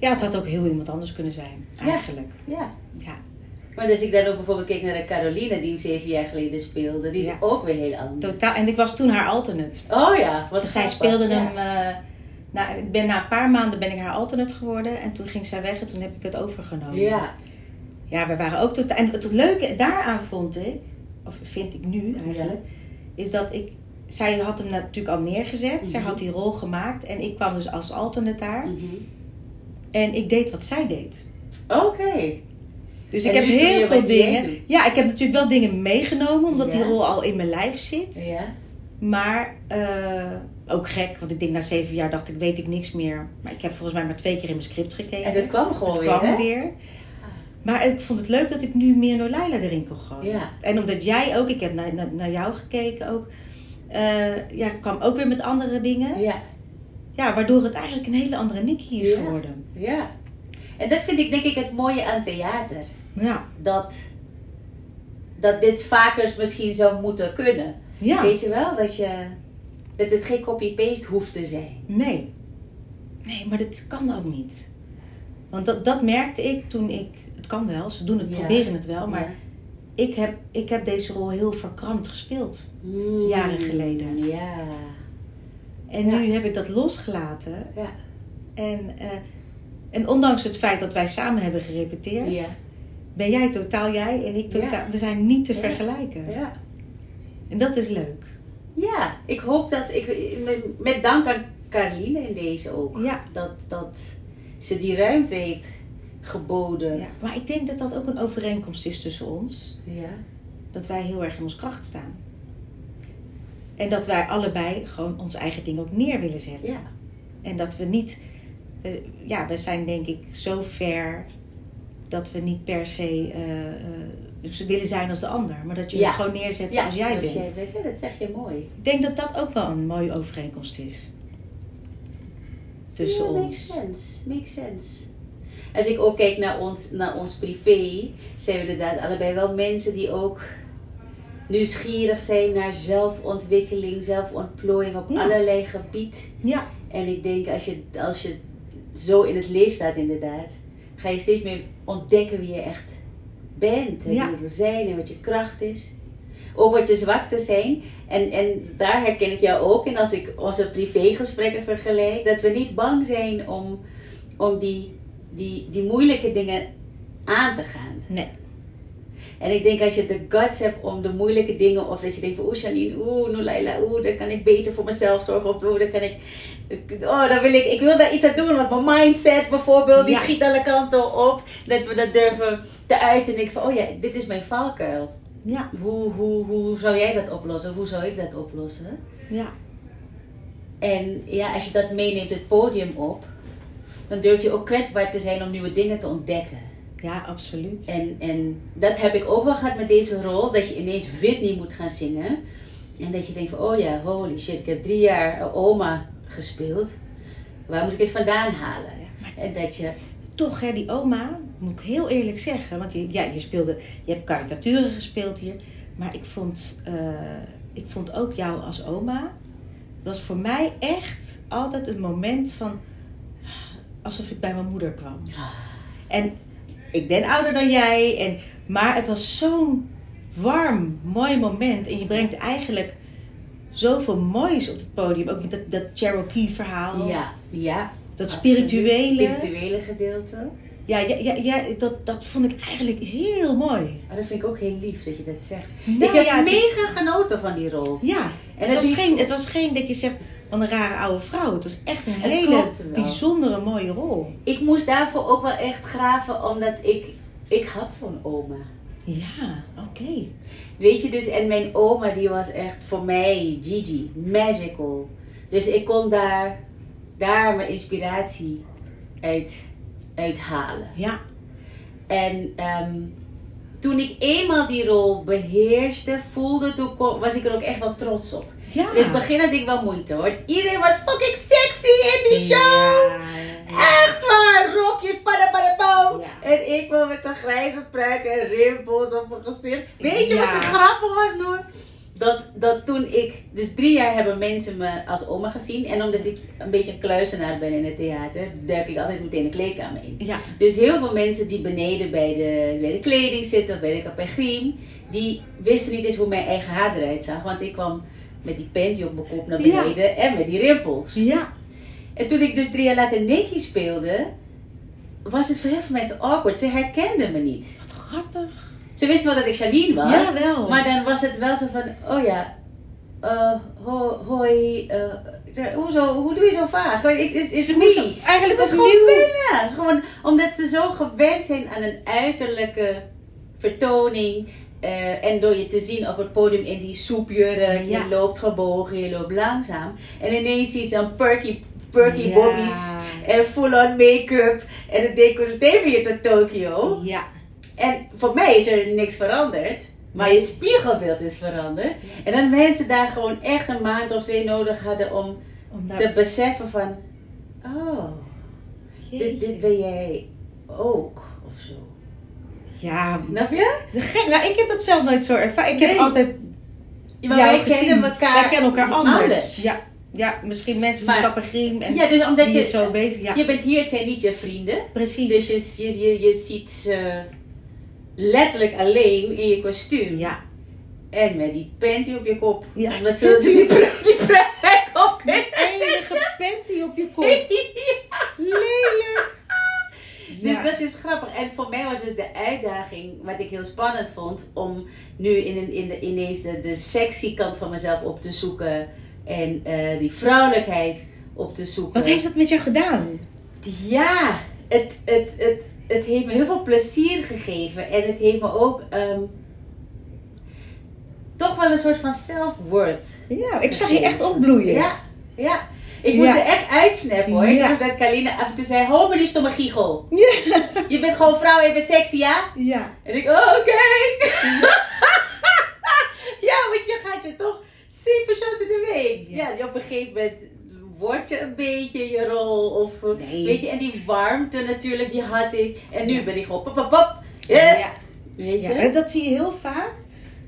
Speaker 3: Ja, het had ook heel iemand anders kunnen zijn.
Speaker 2: Ja.
Speaker 3: Eigenlijk.
Speaker 2: ja.
Speaker 3: Ja.
Speaker 2: Maar als ik dan ook bijvoorbeeld keek naar de Caroline die hem zeven jaar geleden speelde, die is
Speaker 3: Ja.
Speaker 2: ook weer heel anders.
Speaker 3: Totaal. En ik was toen haar alternate.
Speaker 2: Oh ja, wat
Speaker 3: Dus Zij
Speaker 2: grappig.
Speaker 3: speelde
Speaker 2: Ja.
Speaker 3: hem. eh, na, ik ben, na een paar maanden ben ik haar alternate geworden. En toen ging zij weg en toen heb ik het overgenomen.
Speaker 2: Ja,
Speaker 3: Ja, we waren ook totaal. En het leuke daaraan vond ik, of vind ik nu eigenlijk, is dat ik. Zij had hem natuurlijk al neergezet. Zij
Speaker 2: Mhm.
Speaker 3: had die rol gemaakt. En ik kwam dus als alternate daar.
Speaker 2: Mhm.
Speaker 3: En ik deed wat zij deed.
Speaker 2: Oké.
Speaker 3: Dus
Speaker 2: En
Speaker 3: ik heb
Speaker 2: nu doe je
Speaker 3: heel
Speaker 2: wat
Speaker 3: veel
Speaker 2: jij
Speaker 3: dingen.
Speaker 2: doet.
Speaker 3: Ja, ik heb natuurlijk wel dingen meegenomen, omdat die
Speaker 2: Ja.
Speaker 3: rol al in mijn lijf zit.
Speaker 2: Ja.
Speaker 3: Maar eh, ook gek, want ik denk na zeven jaar dacht ik, weet ik niks meer. Maar ik heb volgens mij maar twee keer in mijn script gekeken.
Speaker 2: En dat kwam gewoon
Speaker 3: Het
Speaker 2: weer,
Speaker 3: kwam
Speaker 2: hè?
Speaker 3: weer. Maar ik vond het leuk dat ik nu meer Nolijla erin kon gooien.
Speaker 2: Ja.
Speaker 3: En omdat jij ook, ik heb naar, naar, naar jou gekeken ook. eh, ja, ik kwam ook weer met andere dingen.
Speaker 2: Ja.
Speaker 3: Ja, waardoor het eigenlijk een hele andere Nikki is
Speaker 2: Ja.
Speaker 3: geworden.
Speaker 2: Ja. En dat vind ik denk ik het mooie aan theater.
Speaker 3: Ja.
Speaker 2: Dat, dat dit vaker misschien zou moeten kunnen.
Speaker 3: Ja.
Speaker 2: Weet je wel? Dat, je, dat het geen copy-paste hoeft te zijn.
Speaker 3: Nee. Nee, maar dat kan ook niet. Want dat, dat merkte ik toen ik... Het kan wel, ze doen het,
Speaker 2: Ja.
Speaker 3: proberen het wel. Maar
Speaker 2: Ja.
Speaker 3: ik, heb, ik heb deze rol heel verkrampt gespeeld.
Speaker 2: Mm.
Speaker 3: Jaren geleden.
Speaker 2: Ja.
Speaker 3: En
Speaker 2: Ja.
Speaker 3: nu heb ik dat losgelaten.
Speaker 2: Ja.
Speaker 3: En, eh, en ondanks het feit dat wij samen hebben gerepeteerd...
Speaker 2: Ja.
Speaker 3: ben jij totaal jij en ik totaal...
Speaker 2: Ja.
Speaker 3: We zijn niet te
Speaker 2: Ja.
Speaker 3: vergelijken.
Speaker 2: Ja.
Speaker 3: En dat is leuk.
Speaker 2: Ja, ik hoop dat ik met- met dank aan Caroline in deze ook.
Speaker 3: Ja.
Speaker 2: Dat, dat ze die ruimte heeft geboden.
Speaker 3: ja. Maar ik denk dat dat ook een overeenkomst is tussen ons.
Speaker 2: Ja.
Speaker 3: dat wij heel erg in ons kracht staan. En dat wij allebei gewoon ons eigen ding ook neer willen zetten.
Speaker 2: Ja.
Speaker 3: En dat we niet, eh, ja, we zijn denk ik zo ver dat we niet per se eh, eh, ze willen zijn als de ander, maar dat je
Speaker 2: Ja.
Speaker 3: het gewoon neerzet zoals jij
Speaker 2: zoals
Speaker 3: bent.
Speaker 2: Ja, dat zeg je mooi.
Speaker 3: Ik denk dat dat ook wel een mooie overeenkomst is tussen
Speaker 2: ja,
Speaker 3: ons.
Speaker 2: Makes sense. Makes sense. Als ik ook kijk naar ons, naar ons privé, zijn we inderdaad allebei wel mensen die ook nieuwsgierig zijn naar zelfontwikkeling, zelfontplooiing op
Speaker 3: Ja.
Speaker 2: allerlei gebied.
Speaker 3: Ja,
Speaker 2: En ik denk als je, als je zo in het leven staat inderdaad, ga je steeds meer ontdekken wie je echt bent. En
Speaker 3: Ja.
Speaker 2: wie je wil zijn en wat je kracht is. Ook wat je zwaktes zijn. En, en daar herken ik jou ook in als ik onze privégesprekken vergelijk. Dat we niet bang zijn om, om die, die, die moeilijke dingen aan te gaan.
Speaker 3: nee,
Speaker 2: En ik denk als je de guts hebt om de moeilijke dingen, of dat je denkt van oeh Janine, oeh Nulaila, oeh, daar kan ik beter voor mezelf zorgen, of oeh, daar kan ik, oh, daar wil ik, ik wil daar iets aan doen, want mijn mindset bijvoorbeeld, die
Speaker 3: Ja.
Speaker 2: schiet alle kanten op, dat we dat durven te uiten. En ik van, oh ja, dit is mijn valkuil.
Speaker 3: ja,
Speaker 2: Hoe, hoe, hoe zou jij dat oplossen? Hoe zou ik dat oplossen?
Speaker 3: ja,
Speaker 2: En ja, als je dat meeneemt het podium op, dan durf je ook kwetsbaar te zijn om nieuwe dingen te ontdekken.
Speaker 3: ja, absoluut.
Speaker 2: En, en dat heb ik ook wel gehad met deze rol, dat je ineens Whitney moet gaan zingen. En dat je denkt van, oh ja, holy shit, ik heb drie jaar eh, oma gespeeld. Waar moet ik het vandaan halen? En dat je,
Speaker 3: toch, hè, die oma, moet ik heel eerlijk zeggen. Want je, ja, je speelde, je hebt karikaturen gespeeld hier. Maar ik vond, eh, ik vond ook jou als oma, was voor mij echt altijd een moment van alsof ik bij mijn moeder kwam. En ik ben ouder dan jij, en, maar het was zo'n warm, mooi moment. En je brengt eigenlijk zoveel moois op het podium. Ook met dat, dat Cherokee-verhaal,
Speaker 2: ja, ja.
Speaker 3: dat
Speaker 2: absoluut.
Speaker 3: spirituele.
Speaker 2: spirituele gedeelte.
Speaker 3: Ja, ja, ja, ja dat, dat vond ik eigenlijk heel mooi.
Speaker 2: Maar dat vind ik ook heel lief dat je dat zegt.
Speaker 3: Nou
Speaker 2: ik heb
Speaker 3: ja, het is-
Speaker 2: mega genoten van die rol.
Speaker 3: Ja,
Speaker 2: En
Speaker 3: het,
Speaker 2: dat
Speaker 3: was
Speaker 2: die-
Speaker 3: geen, het was geen dat je zegt, van een rare oude vrouw. Het was echt een
Speaker 2: Het
Speaker 3: hele
Speaker 2: klopte wel.
Speaker 3: bijzondere mooie rol.
Speaker 2: Ik moest daarvoor ook wel echt graven, omdat ik, ik had zo'n oma.
Speaker 3: Ja, oké.
Speaker 2: Weet je, dus en mijn oma die was echt voor mij, Gigi, magical. Dus ik kon daar, daar mijn inspiratie uit, uit halen.
Speaker 3: Ja,
Speaker 2: En ehm, toen ik eenmaal die rol beheerste, voelde, toen kon- was ik er ook echt wel trots op.
Speaker 3: ja.
Speaker 2: In het begin had ik wel moeite hoor. Iedereen was fucking sexy in die show.
Speaker 3: Ja,
Speaker 2: Echt waar, rokjes, padapadapow.
Speaker 3: Ja.
Speaker 2: En ik kwam met een grijze pruik en rimpels op mijn gezicht. Weet je
Speaker 3: Ja.
Speaker 2: wat de grappig was, Noor? Dat, dat toen ik, dus drie jaar hebben mensen me als oma gezien. En omdat ik een beetje een kluizenaar ben in het theater, duik ik altijd meteen de kleedkamer in.
Speaker 3: ja.
Speaker 2: Dus heel veel mensen die beneden bij de, bij de kleding zitten, of bij de capegriem, die wisten niet eens hoe mijn eigen haar eruit zag. Want ik kwam met die panty op mijn kop naar
Speaker 3: Ja.
Speaker 2: beneden en met die rimpels.
Speaker 3: ja.
Speaker 2: En toen ik dus drie jaar later Nicky speelde, was het voor heel veel mensen awkward. Ze herkenden me niet.
Speaker 3: Wat grappig.
Speaker 2: Ze wisten wel dat ik Janine was,
Speaker 3: Ja, wel.
Speaker 2: maar dan was het wel zo van, oh ja, eh, ho- hoi, eh, ze- hoezo, hoe doe je zo vaag? Weet je, Het is, is
Speaker 3: Ze
Speaker 2: me.
Speaker 3: moest
Speaker 2: Ze
Speaker 3: eigenlijk
Speaker 2: was
Speaker 3: opnieuw.
Speaker 2: gewoon willen. Gewoon omdat ze zo gewend zijn aan een uiterlijke vertoning. eh, en door je te zien op het podium in die soepjurk.
Speaker 3: Ja.
Speaker 2: Je loopt gebogen, je loopt langzaam. En ineens zie je dan perky, perky
Speaker 3: Ja.
Speaker 2: bobby's. En full-on make-up. En het decolleté weer tot Tokio.
Speaker 3: Ja.
Speaker 2: En voor mij is er niks veranderd. Maar je spiegelbeeld is veranderd. En dat mensen daar gewoon echt een maand of twee nodig hadden om
Speaker 3: Om daar...
Speaker 2: te beseffen van... Oh, dit, dit ben jij ook of zo.
Speaker 3: Ja,
Speaker 2: Snap je?
Speaker 3: gek. Nou, ik heb dat zelf nooit zo ervaren. Ik heb
Speaker 2: Nee.
Speaker 3: altijd
Speaker 2: Ja, maar
Speaker 3: jou
Speaker 2: wij
Speaker 3: gezien.
Speaker 2: kennen elkaar.
Speaker 3: Wij kennen elkaar anders.
Speaker 2: anders.
Speaker 3: Ja. ja, misschien mensen van
Speaker 2: Maar-
Speaker 3: Capagriem en
Speaker 2: Ja, dus
Speaker 3: die
Speaker 2: omdat
Speaker 3: je
Speaker 2: je,
Speaker 3: zo beter. Ja,
Speaker 2: je bent hier, het zijn niet je vrienden.
Speaker 3: precies.
Speaker 2: Dus je, je, je, je ziet ze letterlijk alleen in je kostuum.
Speaker 3: Ja,
Speaker 2: En met die panty op je kop.
Speaker 3: Ja.
Speaker 2: Omdat ze natuurlijk die pru- die pruik op
Speaker 3: enige panty op je kop. Lelijk.
Speaker 2: Dus
Speaker 3: Ja.
Speaker 2: dat is grappig. En voor mij was dus de uitdaging, wat ik heel spannend vond, om nu in een, in de, ineens de, de sexy kant van mezelf op te zoeken. En eh, die vrouwelijkheid op te zoeken.
Speaker 3: Wat heeft dat met jou gedaan?
Speaker 2: Ja, het, het, het, het heeft me heel veel plezier gegeven. En het heeft me ook ehm, toch wel een soort van self-worth.
Speaker 3: Ja, ik zag je echt opbloeien.
Speaker 2: Ja, ja. Ik moest
Speaker 3: Ja.
Speaker 2: er echt uitsnappen hoor. Ik
Speaker 3: Ja.
Speaker 2: dacht dat Kalina af en toe zei, hou me die stomme giegel.
Speaker 3: Ja.
Speaker 2: Je bent gewoon vrouw en je bent sexy, ja?
Speaker 3: ja.
Speaker 2: En ik, oh, oké. ja, want je gaat je toch zeven shows in de week. Ja, op een gegeven moment wordt je een beetje je rol. Of, eh,
Speaker 3: Nee.
Speaker 2: Weet je, en die warmte natuurlijk, die had ik. En nu
Speaker 3: Ja.
Speaker 2: ben ik gewoon pop, pop, pop. Eh,
Speaker 3: Ja.
Speaker 2: Weet je?
Speaker 3: Ja, en dat zie je heel vaak.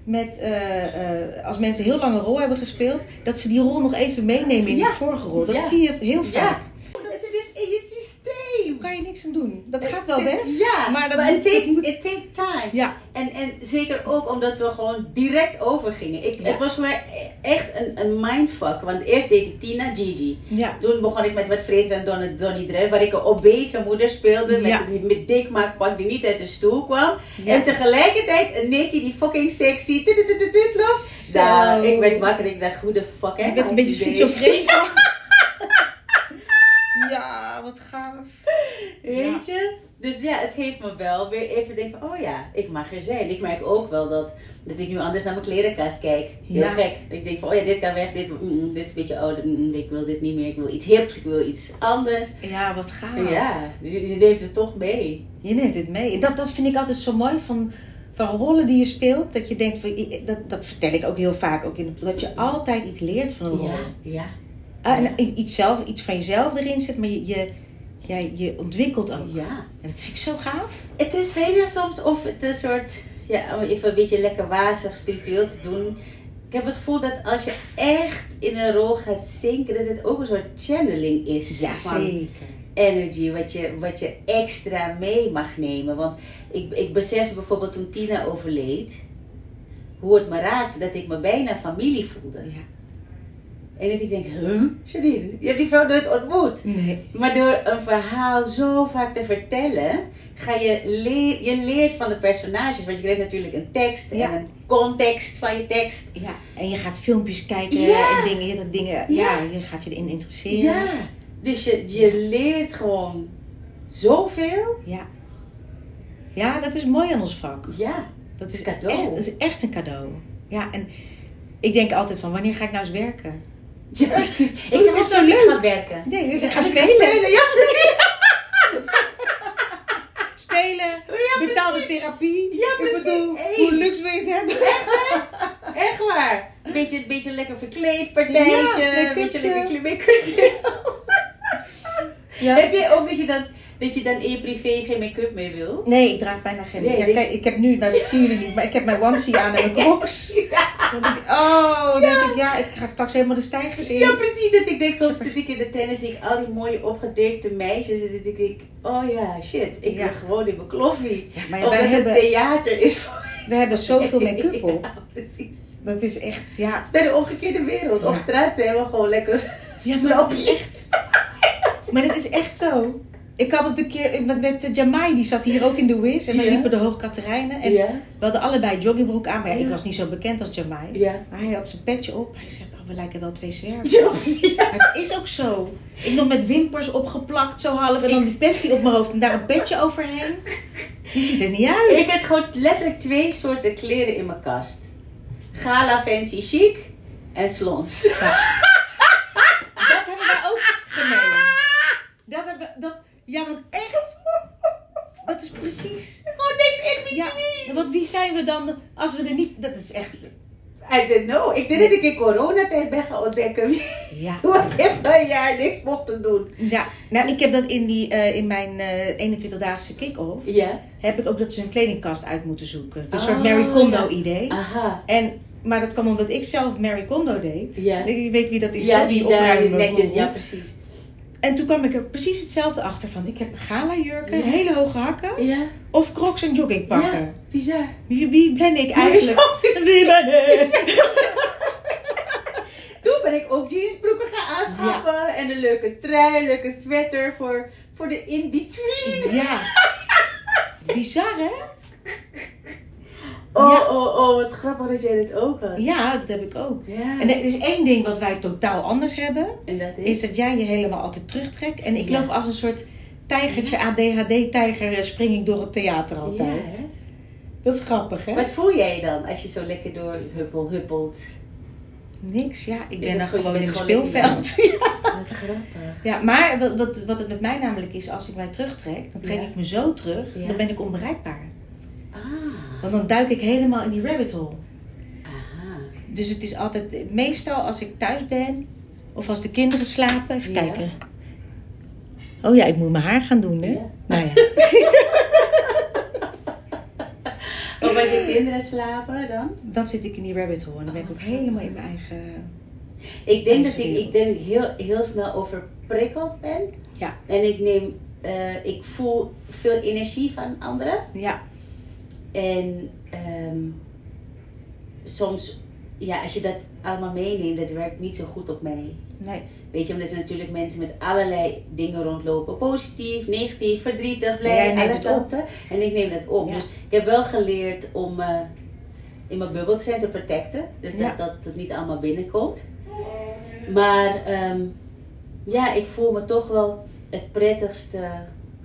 Speaker 3: Met, eh, eh, als mensen een heel lange rol hebben gespeeld, dat ze die rol nog even meenemen in
Speaker 2: Ja.
Speaker 3: die vorige rol. Dat
Speaker 2: Ja.
Speaker 3: zie je heel
Speaker 2: Ja.
Speaker 3: vaak.
Speaker 2: Het is dus in je systeem.
Speaker 3: Daar kan je niks aan doen. Dat gaat
Speaker 2: Het
Speaker 3: wel
Speaker 2: zit-
Speaker 3: weg.
Speaker 2: Ja,
Speaker 3: Maar
Speaker 2: maar
Speaker 3: dat
Speaker 2: dat it,
Speaker 3: moet- dat
Speaker 2: takes,
Speaker 3: moet-
Speaker 2: it takes time.
Speaker 3: Ja.
Speaker 2: En, en zeker ook omdat we gewoon direct overgingen. Ik,
Speaker 3: Ja.
Speaker 2: Het was voor mij e-, echt een, een mindfuck. Want eerst deed ik Tina Gigi.
Speaker 3: Ja.
Speaker 2: Toen begon ik met wat Freder en Don- Donnie Dre, waar ik een obese moeder speelde
Speaker 3: Ja.
Speaker 2: met, met dik maakpak die niet uit de stoel kwam.
Speaker 3: Ja.
Speaker 2: En tegelijkertijd een Nicky die fucking sexy dit, dit, dit, dit, dit loopt.
Speaker 3: Zo.
Speaker 2: Nou, ik werd wakker ik dacht, hoe de fuck heb
Speaker 3: Je bent een beetje schizofreen. Ja, wat gaaf.
Speaker 2: Weet je? Dus ja, het heeft me wel weer even denken van, oh ja, ik mag er zijn. Ik merk ook wel dat, dat ik nu anders naar mijn klerenkast kijk. Heel
Speaker 3: Ja.
Speaker 2: gek. Ik denk van, oh ja, dit kan weg, dit, mm, mm, dit is een beetje ouder, mm, mm, ik wil dit niet meer. Ik wil iets hips, ik wil iets anders.
Speaker 3: Ja, wat gaaf.
Speaker 2: Ja, je, je neemt het toch mee.
Speaker 3: Je neemt het mee. Dat, dat vind ik altijd zo mooi van, van rollen die je speelt. Dat je denkt, van, dat, dat vertel ik ook heel vaak. Ook in, dat je altijd iets leert van een rol.
Speaker 2: Ja, ja.
Speaker 3: Ah, en i- iets, zelf, iets van jezelf erin zit, maar je, je, ja, je ontwikkelt ook.
Speaker 2: Ja.
Speaker 3: En dat vind ik zo gaaf.
Speaker 2: Het is bijna soms of het een soort, ja, om even een beetje lekker wazig, spiritueel te doen. Ik heb het gevoel dat als je echt in een rol gaat zinken, dat het ook een soort channeling is. van energy, wat je, wat je extra mee mag nemen. Want ik, ik besefte bijvoorbeeld toen Tina overleed, hoe het me raakte dat ik me bijna familie voelde.
Speaker 3: Ja.
Speaker 2: En dat ik denk, huh? Janine, je hebt die vrouw nooit ontmoet.
Speaker 3: Nee.
Speaker 2: Maar door een verhaal zo vaak te vertellen, ga je, leer, je leert van de personages. Want je krijgt natuurlijk een tekst en
Speaker 3: Ja.
Speaker 2: een context van je tekst.
Speaker 3: Ja. En je gaat filmpjes kijken
Speaker 2: Ja.
Speaker 3: en dingen, je gaat dingen,
Speaker 2: Ja.
Speaker 3: ja. je gaat je erin interesseren.
Speaker 2: Ja. Dus je, je leert gewoon zoveel.
Speaker 3: Ja. Ja, dat is mooi aan ons vak.
Speaker 2: Ja.
Speaker 3: Dat
Speaker 2: is een cadeau.
Speaker 3: Echt, dat is echt een cadeau. Ja, en ik denk altijd van, wanneer ga ik nou eens werken?
Speaker 2: Ja, precies. Ik
Speaker 3: dat
Speaker 2: zou
Speaker 3: was
Speaker 2: zo
Speaker 3: zo
Speaker 2: leuk
Speaker 3: leuk.
Speaker 2: gaan werken.
Speaker 3: Nee, dus ik ga
Speaker 2: Ga
Speaker 3: spelen.
Speaker 2: spelen. spelen. Ja, precies.
Speaker 3: Spelen,
Speaker 2: Ja,
Speaker 3: betaalde
Speaker 2: precies.
Speaker 3: therapie.
Speaker 2: Ja,
Speaker 3: Ik bedoel,
Speaker 2: precies.
Speaker 3: hoe
Speaker 2: Hey.
Speaker 3: luxe wil je het hebben?
Speaker 2: Echt waar. Beetje, beetje lekker verkleed partijtje.
Speaker 3: Ja, make-upje.
Speaker 2: beetje lekker make-up. Heb je ook dat je dan, dat je dan in je privé geen make-up meer wil?
Speaker 3: Nee, ik draag bijna geen...
Speaker 2: Nee,
Speaker 3: ja,
Speaker 2: dit-
Speaker 3: kijk, ik heb nu, nou, dat zien jullie niet, maar ik heb mijn onesie aan en mijn crocs. Dan denk ik, oh, dan denk ik, ja, ik ga straks helemaal de stijgers in.
Speaker 2: Ja, precies. Dat ik denk, soms zit ik in de tennis, zie ik al die mooie opgedekte meisjes. En dat ik denk, oh ja, shit, ik
Speaker 3: Ja.
Speaker 2: wil gewoon in mijn kloffie.
Speaker 3: Ja, maar
Speaker 2: Omdat
Speaker 3: wij hebben,
Speaker 2: het theater is voor...
Speaker 3: we hebben zoveel make-up op.
Speaker 2: Ja, precies.
Speaker 3: Dat is echt, ja...
Speaker 2: Het is bij de omgekeerde wereld. Op
Speaker 3: Ja.
Speaker 2: straat zijn we gewoon lekker
Speaker 3: Ja, maar dat
Speaker 2: slapjes.
Speaker 3: is echt. Maar dat is echt zo. Ik had het een keer met, met eh, Jamai, die zat hier ook in de Wiz. En wij
Speaker 2: Ja.
Speaker 3: liepen de Hoogkaterijnen. En
Speaker 2: Ja,
Speaker 3: we hadden allebei joggingbroek aan. Maar ja, ik
Speaker 2: Ja.
Speaker 3: was niet zo bekend als Jamai.
Speaker 2: ja.
Speaker 3: Maar hij had zijn petje op. Hij zegt, oh, we lijken wel twee zwervers.
Speaker 2: Ja, precies.
Speaker 3: Maar het is ook zo. Ik nog met wimpers opgeplakt, zo half. En dan die petje op mijn hoofd en daar een petje overheen. Die ziet er niet uit.
Speaker 2: Ik heb gewoon letterlijk twee soorten kleren in mijn kast. Gala fancy chic en slons.
Speaker 3: Dat hebben wij ook gemeen. Dat hebben, dat, ja, want echt. Dat is precies...
Speaker 2: Gewoon niks in
Speaker 3: Ja, want wie zijn we dan als we er niet... Dat is echt...
Speaker 2: I don't know. Ik denk dat ik in coronatijd ben gaan ontdekken wie
Speaker 3: Ja.
Speaker 2: ik een jaar niks mocht te doen.
Speaker 3: ja. Nou, ik heb dat in, die, eh, in mijn eh 21-daagse kick-off...
Speaker 2: Ja.
Speaker 3: heb ik ook dat ze een kledingkast uit moeten zoeken. Een
Speaker 2: Oh,
Speaker 3: soort Mary Kondo idee.
Speaker 2: Aha.
Speaker 3: En, maar dat kwam omdat ik zelf Mary Kondo deed.
Speaker 2: Ja.
Speaker 3: Je weet wie dat is,
Speaker 2: Ja,
Speaker 3: toch?
Speaker 2: die daar
Speaker 3: opruimen
Speaker 2: netjes.
Speaker 3: boel.
Speaker 2: Ja, precies.
Speaker 3: En toen kwam ik er precies hetzelfde achter van... ik heb gala-jurken,
Speaker 2: Ja.
Speaker 3: hele hoge hakken...
Speaker 2: Ja.
Speaker 3: of crocs en joggingpakken.
Speaker 2: Ja. Bizar.
Speaker 3: Wie, wie ben ik eigenlijk? Wie ben ik?
Speaker 2: Toen ben ik ook jeansbroeken gaan aanschaffen. En een leuke trui, leuke sweater voor, voor de in-between.
Speaker 3: Ja. Bizar, hè?
Speaker 2: Oh,
Speaker 3: Ja.
Speaker 2: oh, oh, wat grappig dat jij dit ook had.
Speaker 3: Ja, dat heb ik ook.
Speaker 2: Ja.
Speaker 3: En er is één ding wat wij totaal anders hebben,
Speaker 2: En dat
Speaker 3: is dat jij je helemaal altijd terugtrekt. En ik
Speaker 2: Ja.
Speaker 3: loop als een soort tijgertje, ADHD-tijger, eh, spring ik door het theater altijd.
Speaker 2: Ja, hè?
Speaker 3: dat is grappig, hè?
Speaker 2: Wat voel jij dan als je zo lekker door huppel huppelt?
Speaker 3: Niks, ja, ik ben
Speaker 2: ben
Speaker 3: dan
Speaker 2: gewoon-
Speaker 3: gewoon
Speaker 2: ik
Speaker 3: in het
Speaker 2: ben gewoon
Speaker 3: speelveld.
Speaker 2: Wat grappig.
Speaker 3: Ja, maar wat, wat, wat het met mij namelijk is, als ik mij terugtrek, dan trek
Speaker 2: Ja.
Speaker 3: ik me zo terug,
Speaker 2: Ja.
Speaker 3: dan ben ik onbereikbaar.
Speaker 2: Ah.
Speaker 3: Want dan duik ik helemaal in die rabbit hole.
Speaker 2: Aha.
Speaker 3: Dus het is altijd, meestal als ik thuis ben of als de kinderen slapen, even
Speaker 2: Ja.
Speaker 3: kijken. Oh ja, ik moet mijn haar gaan doen, hè?
Speaker 2: Ja.
Speaker 3: Nou ja.
Speaker 2: Of als je kinderen slapen dan?
Speaker 3: Dan zit ik in die rabbit hole en dan ben
Speaker 2: Oh,
Speaker 3: ik ook helemaal in mijn eigen.
Speaker 2: Ik denk dat ik,
Speaker 3: Eigen
Speaker 2: ik, denk dat ik heel, heel snel overprikkeld ben.
Speaker 3: Ja.
Speaker 2: En ik neem, eh, ik voel veel energie van anderen.
Speaker 3: Ja,
Speaker 2: En ehm, soms, ja, als je dat allemaal meeneemt, dat werkt niet zo goed op mij.
Speaker 3: nee.
Speaker 2: Weet je, omdat er natuurlijk mensen met allerlei dingen rondlopen. Positief, negatief, verdrietig, blij,
Speaker 3: Maar jij neemt
Speaker 2: alle
Speaker 3: het
Speaker 2: kanten. En ik neem dat op.
Speaker 3: Ja.
Speaker 2: Dus ik heb wel geleerd om eh, in mijn bubbel te zijn, te protecten. Dus
Speaker 3: Ja.
Speaker 2: dat, dat het niet allemaal binnenkomt. Maar ehm, ja, ik voel me toch wel het prettigste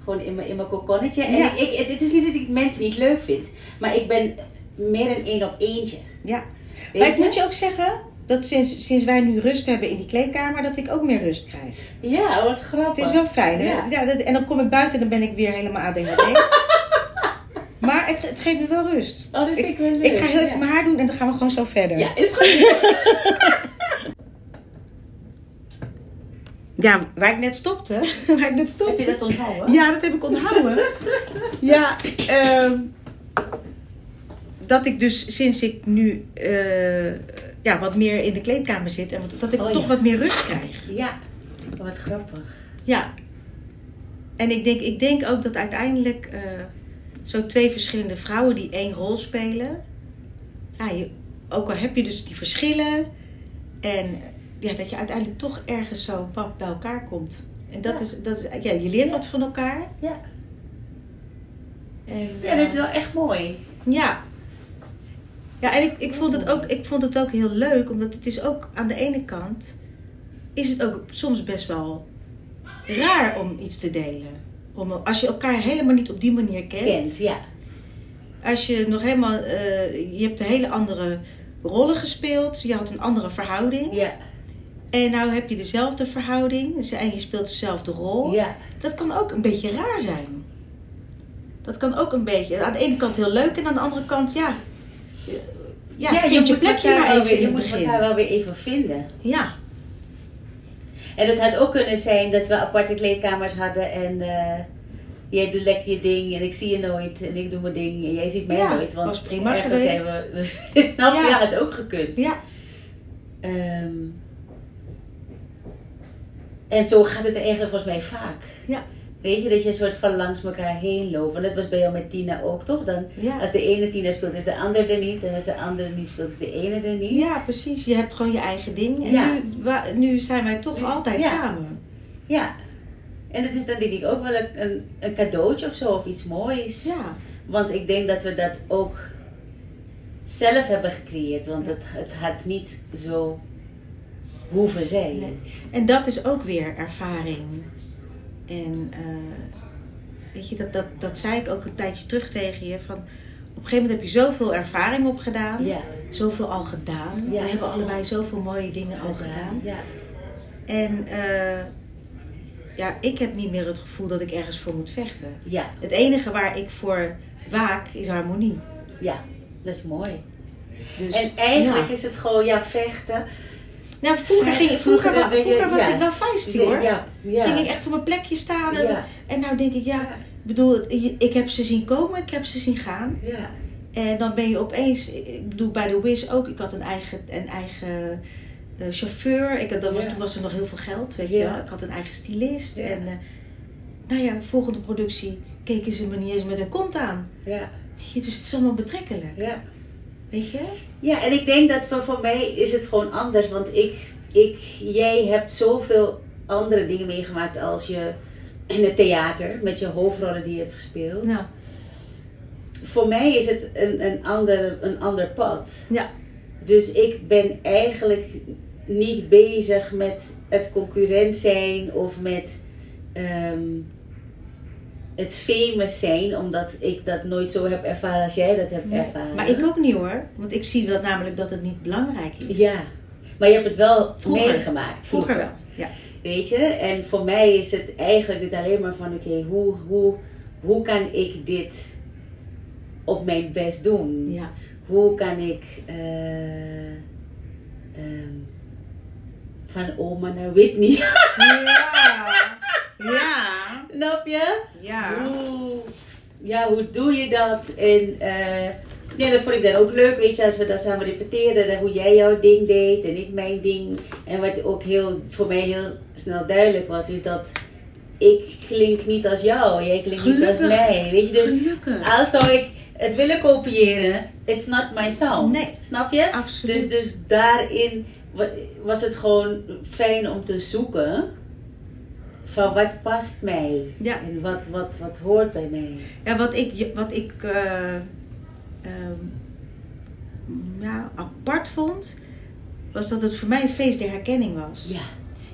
Speaker 2: gewoon in mijn, in mijn kokonnetje. En
Speaker 3: Ja.
Speaker 2: ik, ik, het- het is niet dat ik mensen niet leuk vind. Maar ik ben meer een één op eentje.
Speaker 3: Ja.
Speaker 2: Weet
Speaker 3: Maar ik
Speaker 2: je?
Speaker 3: moet je ook zeggen dat sinds, sinds wij nu rust hebben in die kleedkamer, dat ik ook meer rust krijg.
Speaker 2: Ja, wat grappig.
Speaker 3: Het is wel fijn, hè?
Speaker 2: Ja.
Speaker 3: Ja. dat, en dan kom ik buiten en dan ben ik weer helemaal ADHD. maar het, het geeft me wel rust.
Speaker 2: Oh, dat vind ik, wel leuk.
Speaker 3: Ik ga heel even
Speaker 2: Ja.
Speaker 3: mijn haar doen en dan gaan we gewoon zo verder.
Speaker 2: Ja, is goed.
Speaker 3: Ja, waar ik net stopte. Waar ik net
Speaker 2: Heb
Speaker 3: stopte.
Speaker 2: je dat onthouden?
Speaker 3: Ja, dat heb ik onthouden. ja, ehm, dat ik dus sinds ik nu eh, ja, wat meer in de kleedkamer zit en wat, dat ik
Speaker 2: Oh,
Speaker 3: toch
Speaker 2: ja.
Speaker 3: wat meer rust krijg.
Speaker 2: Ja,
Speaker 3: Oh,
Speaker 2: wat grappig.
Speaker 3: Ja. En ik denk, ik denk ook dat uiteindelijk eh, zo twee verschillende vrouwen die één rol spelen. Ja, je, ook al heb je dus die verschillen en ja, dat je uiteindelijk toch ergens zo pap bij elkaar komt. En dat is, dat is, ja, je leert wat van elkaar.
Speaker 2: Ja.
Speaker 3: En,
Speaker 2: Ja, dit is wel echt mooi.
Speaker 3: Ja. Ja, en ik, ik, vond het ook, ik vond het ook heel leuk, omdat het is ook aan de ene kant, is het ook soms best wel raar om iets te delen. Om, als je elkaar helemaal niet op die manier kent,
Speaker 2: Kent, ja.
Speaker 3: als je nog helemaal, eh, je hebt een hele andere rollen gespeeld, je had een andere verhouding.
Speaker 2: Ja,
Speaker 3: En nou heb je dezelfde verhouding dus- en je speelt dezelfde rol.
Speaker 2: ja.
Speaker 3: Dat kan ook een beetje raar zijn. Dat kan ook een beetje. Aan de ene kant heel leuk en aan de andere kant, ja. eh, Ja, vind je
Speaker 2: moet
Speaker 3: plekje
Speaker 2: elkaar
Speaker 3: maar
Speaker 2: wel
Speaker 3: even
Speaker 2: weer,
Speaker 3: in
Speaker 2: je
Speaker 3: het
Speaker 2: moet
Speaker 3: begin.
Speaker 2: elkaar wel weer even vinden.
Speaker 3: Ja,
Speaker 2: En het had ook kunnen zijn dat we aparte kleedkamers hadden en eh, jij doet lekker je ding en ik zie je nooit en ik doe mijn ding en jij ziet mij
Speaker 3: Ja,
Speaker 2: nooit. Want
Speaker 3: was prima
Speaker 2: ergens
Speaker 3: geweest.
Speaker 2: zijn we. nou ja.
Speaker 3: Ja.
Speaker 2: had ook gekund.
Speaker 3: ja,
Speaker 2: Ehm, en zo gaat het eigenlijk volgens mij vaak.
Speaker 3: Ja.
Speaker 2: Weet je, dat je een soort van langs elkaar heen loopt. Want dat was bij jou met Tina ook, toch? Dan,
Speaker 3: ja.
Speaker 2: als de ene Tina speelt, is de ander er niet. En als de andere niet speelt, is de ene er niet.
Speaker 3: Ja, precies. Je hebt gewoon je eigen ding. En
Speaker 2: Ja.
Speaker 3: nu, wa- nu zijn wij toch
Speaker 2: Dus-
Speaker 3: altijd
Speaker 2: ja.
Speaker 3: samen.
Speaker 2: Ja. En dat is dan denk ik ook wel een, een, een cadeautje of zo, of iets moois.
Speaker 3: Ja,
Speaker 2: Want ik denk dat we dat ook zelf hebben gecreëerd. Want het, het had niet zo hoeven zijn.
Speaker 3: Nee. en dat is ook weer ervaring. En eh, weet je, dat, dat, dat zei ik ook een tijdje terug tegen je. Van, op een gegeven moment heb je zoveel ervaring opgedaan.
Speaker 2: Ja.
Speaker 3: Zoveel al gedaan.
Speaker 2: Ja.
Speaker 3: We hebben allebei zoveel mooie dingen al gedaan.
Speaker 2: Ja.
Speaker 3: En eh, ja, ik heb niet meer het gevoel dat ik ergens voor moet vechten.
Speaker 2: ja,
Speaker 3: Het enige waar ik voor waak is harmonie.
Speaker 2: ja. Dat is mooi.
Speaker 3: Dus,
Speaker 2: En eigenlijk
Speaker 3: ja.
Speaker 2: is het gewoon, ja, vechten.
Speaker 3: Nou, vroeger, ging, vroeger,
Speaker 2: Vroeger
Speaker 3: wa-
Speaker 2: ben je-
Speaker 3: vroeger was
Speaker 2: ja.
Speaker 3: ik wel feisty hoor.
Speaker 2: Ja, ja.
Speaker 3: Ging ik echt voor mijn plekje staan. En,
Speaker 2: ja,
Speaker 3: en nou denk ik, ja, ik bedoel, je- ik heb ze zien komen, ik heb ze zien gaan.
Speaker 2: ja.
Speaker 3: En dan ben je opeens, ik bedoel bij de Wiz ook, ik had een eigen, een eigen eh, chauffeur. Ik had, dat was,
Speaker 2: Ja.
Speaker 3: Toen was er nog heel veel geld, weet je
Speaker 2: Ja.
Speaker 3: wel. Ik had een eigen stylist.
Speaker 2: Ja.
Speaker 3: En eh, nou ja, volgende productie keken ze me niet eens met een kont aan.
Speaker 2: ja,
Speaker 3: Weet je, dus het is allemaal betrekkelijk,
Speaker 2: ja.
Speaker 3: weet je.
Speaker 2: Ja, en ik denk dat voor, voor mij is het gewoon anders. Want ik, ik, jij hebt zoveel andere dingen meegemaakt als je in het theater met je hoofdrollen die je hebt gespeeld.
Speaker 3: Nou,
Speaker 2: Voor mij is het een, een, ander, een ander pad.
Speaker 3: Ja.
Speaker 2: Dus ik ben eigenlijk niet bezig met het concurrent zijn of met ehm, het famous zijn, omdat ik dat nooit zo heb ervaren als jij dat hebt ervaren.
Speaker 3: maar ik ook niet hoor. Want ik zie dat namelijk dat het niet belangrijk is.
Speaker 2: Ja, maar je hebt het wel
Speaker 3: Vroeger.
Speaker 2: meegemaakt.
Speaker 3: Vroeger wel, ja.
Speaker 2: Weet je, en voor mij is het eigenlijk dit alleen maar van: oké, hoe, hoe, hoe kan ik dit op mijn best doen?
Speaker 3: ja.
Speaker 2: Hoe kan ik eh, ehm, van oma naar Whitney?
Speaker 3: Ja. Ja.
Speaker 2: Snap je?
Speaker 3: Ja.
Speaker 2: Hoe, ja, hoe doe je dat? En eh, ja, dat vond ik dan ook leuk, weet je, als we dat samen repeteerden, dat hoe jij jouw ding deed en ik mijn ding. En wat ook heel, voor mij heel snel duidelijk was, is dat ik klink niet als jou, jij klinkt niet als
Speaker 3: Gelukkig.
Speaker 2: mij. Weet je, dus
Speaker 3: Gelukkig.
Speaker 2: als zou ik het willen kopiëren, it's not my sound.
Speaker 3: Nee.
Speaker 2: Snap je?
Speaker 3: Absoluut.
Speaker 2: Dus, dus daarin wa- was het gewoon fijn om te zoeken van wat past mij
Speaker 3: Ja.
Speaker 2: en wat, wat, wat hoort bij mij.
Speaker 3: Ja, wat ik, wat ik eh, ehm, ja, apart vond, was dat het voor mij een feest der herkenning was.
Speaker 2: Ja,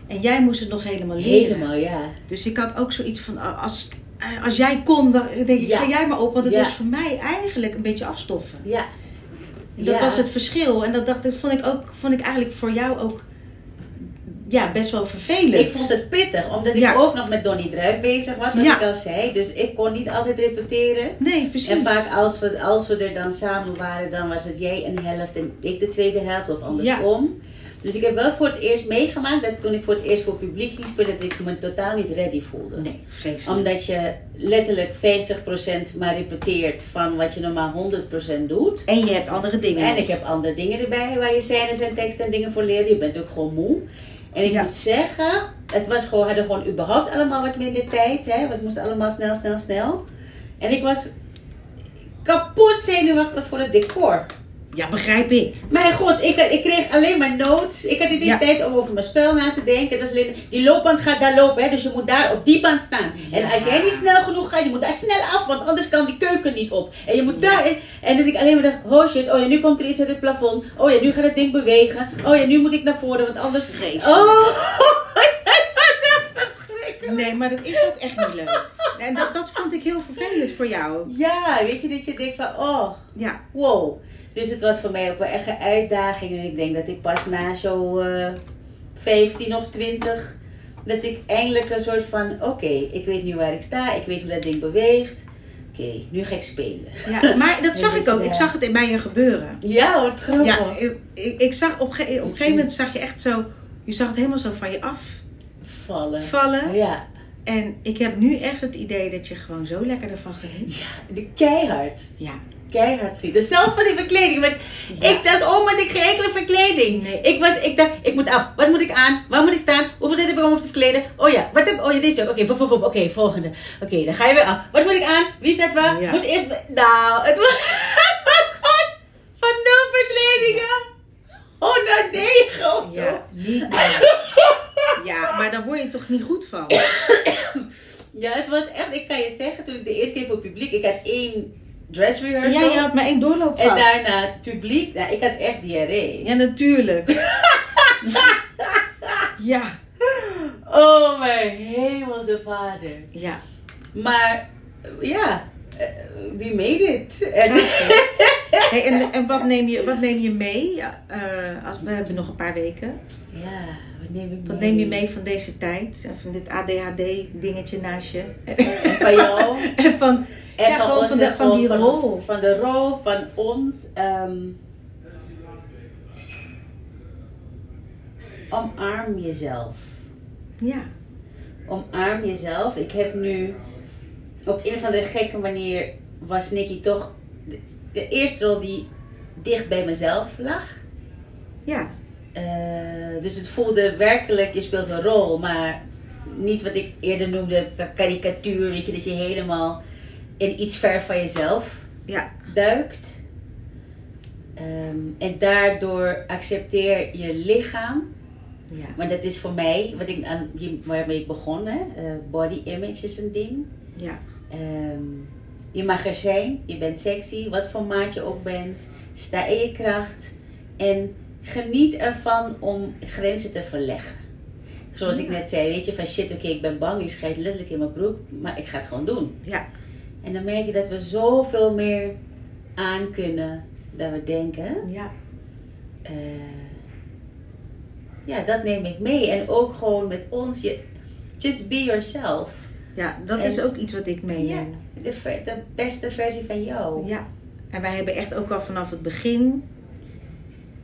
Speaker 3: En jij moest het nog helemaal leren.
Speaker 2: helemaal ja.
Speaker 3: Dus ik had ook zoiets van, ah, als, eh, als jij kon, dan denk ik,
Speaker 2: Ja.
Speaker 3: ga jij maar op. Want het
Speaker 2: Ja.
Speaker 3: was voor mij eigenlijk een beetje afstoffen.
Speaker 2: Ja.
Speaker 3: Dat
Speaker 2: Ja.
Speaker 3: was het verschil. En dat dacht ik, vond ik, ook, vond ik eigenlijk voor jou ook ja, best wel vervelend.
Speaker 2: Ik vond het pittig, omdat
Speaker 3: Ja.
Speaker 2: ik ook nog met Donnie Druif bezig was, wat
Speaker 3: Ja.
Speaker 2: ik al zei. Dus ik kon niet altijd repeteren.
Speaker 3: Nee, precies.
Speaker 2: En vaak als we, als we er dan samen waren, dan was het jij een helft en ik de tweede helft of andersom. Dus ik heb wel voor het eerst meegemaakt dat toen ik voor het eerst voor publiek ging spelen, dat ik me totaal niet ready voelde.
Speaker 3: Nee, vreselijk.
Speaker 2: Omdat je letterlijk 50% maar repeteert van wat je normaal 100% doet.
Speaker 3: En je hebt andere dingen.
Speaker 2: En ik heb andere dingen erbij waar je scènes en teksten en dingen voor leren. Je bent ook gewoon moe. En ik
Speaker 3: Ja.
Speaker 2: moet zeggen, het was gewoon, hadden gewoon überhaupt allemaal wat minder tijd. Hè? Het moest allemaal snel, snel, snel. En ik was kapot zenuwachtig voor het decor.
Speaker 3: Ja, begrijp ik.
Speaker 2: Mijn god, ik, ik kreeg alleen maar notes. Ik had niet eens
Speaker 3: Ja.
Speaker 2: tijd om over mijn spel na te denken. Dat is alleen- die loopband gaat daar lopen, hè, dus je moet daar op die band staan. En
Speaker 3: Ja.
Speaker 2: als jij niet snel genoeg gaat, je moet daar snel af, want anders kan die keuken niet op. En je moet daar... En dat ik alleen maar dacht, oh shit, oh ja, nu komt er iets uit het plafond. Oh ja, nu gaat het ding bewegen. Oh ja, nu moet ik naar voren, want anders...
Speaker 3: Vreselijk.
Speaker 2: Oh!
Speaker 3: Nee, maar dat is ook echt niet leuk. Nee, En dat, dat vond ik heel vervelend voor jou.
Speaker 2: Ja, weet je, dat je denkt van, oh,
Speaker 3: Ja,
Speaker 2: wow. Dus het was voor mij ook wel echt een uitdaging. En ik denk dat ik pas na zo'n eh 15 of 20, dat ik eindelijk een soort van, oké, ik weet nu waar ik sta, ik weet hoe dat ding beweegt. Oké, nu ga ik spelen.
Speaker 3: ja, maar dat zag ik ook. Ik
Speaker 2: Ja.
Speaker 3: zag het bij je gebeuren.
Speaker 2: Ja, wat grappig.
Speaker 3: Ja, ik, ik- ik zag op, een ge- op een gegeven moment zag je echt zo, je zag het helemaal zo van je
Speaker 2: Vallen.
Speaker 3: afvallen.
Speaker 2: Ja.
Speaker 3: En ik heb nu echt het idee dat je gewoon zo lekker ervan geniet.
Speaker 2: ja, de keihard.
Speaker 3: Ja.
Speaker 2: Keihard genieten. Zelfs van die verkleding. Want Ik dacht, oh, maar ik geen enkele verkleding.
Speaker 3: Nee.
Speaker 2: Ik, was, ik dacht, ik moet af. Wat moet ik aan? Waar moet ik staan? Hoeveel tijd heb ik om over te verkleden? Oh ja, wat heb Oh ja, deze. ook. Oké, vop, vop, vop. Oké, volgende. Oké, dan ga je weer af. Wat moet ik aan? Wie staat waar?
Speaker 3: Ja.
Speaker 2: Moet eerst... Nou, het was, het was gewoon van nul verkledingen. Oh, naar negen of zo.
Speaker 3: Ja, niet normaal. Ja, maar daar word je toch niet goed van?
Speaker 2: Ja, het was echt... Ik kan je zeggen, toen ik de eerste keer voor het publiek... Ik had één dress rehearsal.
Speaker 3: Jij had maar één doorloop
Speaker 2: En
Speaker 3: gehad.
Speaker 2: daarna het publiek. Nou, ik had echt diarree.
Speaker 3: Ja, natuurlijk. Ja,
Speaker 2: Oh, mijn hemelse vader.
Speaker 3: ja.
Speaker 2: Maar eh, ja, eh, we made it. En,
Speaker 3: Hey, en en wat, neem je, wat neem je mee? eh, als, we hebben nog een paar weken.
Speaker 2: ja, wat neem ik mee?
Speaker 3: Wat neem je mee van deze tijd? En van dit ADHD-dingetje naast je?
Speaker 2: En van jou.
Speaker 3: En van,
Speaker 2: En
Speaker 3: Ja,
Speaker 2: van,
Speaker 3: gewoon
Speaker 2: onze-
Speaker 3: van de- van die
Speaker 2: ons-
Speaker 3: rol.
Speaker 2: van de rol, van ons. ehm, omarm jezelf.
Speaker 3: ja.
Speaker 2: Omarm jezelf. Ik heb nu op een of andere gekke manier was Nicky toch de, de eerste rol die dicht bij mezelf lag.
Speaker 3: Ja,
Speaker 2: Eh, dus het voelde werkelijk, je speelt een rol, maar niet wat ik eerder noemde ka- karikatuur, weet je, dat je helemaal in iets ver van jezelf
Speaker 3: ja,
Speaker 2: duikt. Ehm, en daardoor accepteer je lichaam,
Speaker 3: ja,
Speaker 2: maar dat is voor mij, wat ik aan, waarmee ik begon, hè? eh, body image is een ding.
Speaker 3: ja,
Speaker 2: Ehm, je mag er zijn, je bent sexy, wat voor maat je ook bent. Sta in je kracht en geniet ervan om grenzen te verleggen. Zoals ik
Speaker 3: Ja.
Speaker 2: net zei, weet je, van shit, oké, ik ben bang, ik schijt letterlijk in mijn broek, maar ik ga het gewoon doen.
Speaker 3: ja.
Speaker 2: En dan merk je dat we zoveel meer aan kunnen dan we denken.
Speaker 3: ja.
Speaker 2: Eh, ja, dat neem ik mee. En ook gewoon met ons, je, just be yourself.
Speaker 3: Ja, dat is ook iets wat ik meeneem.
Speaker 2: De, ver- de beste versie van jou.
Speaker 3: Ja. En wij hebben echt ook al vanaf het begin,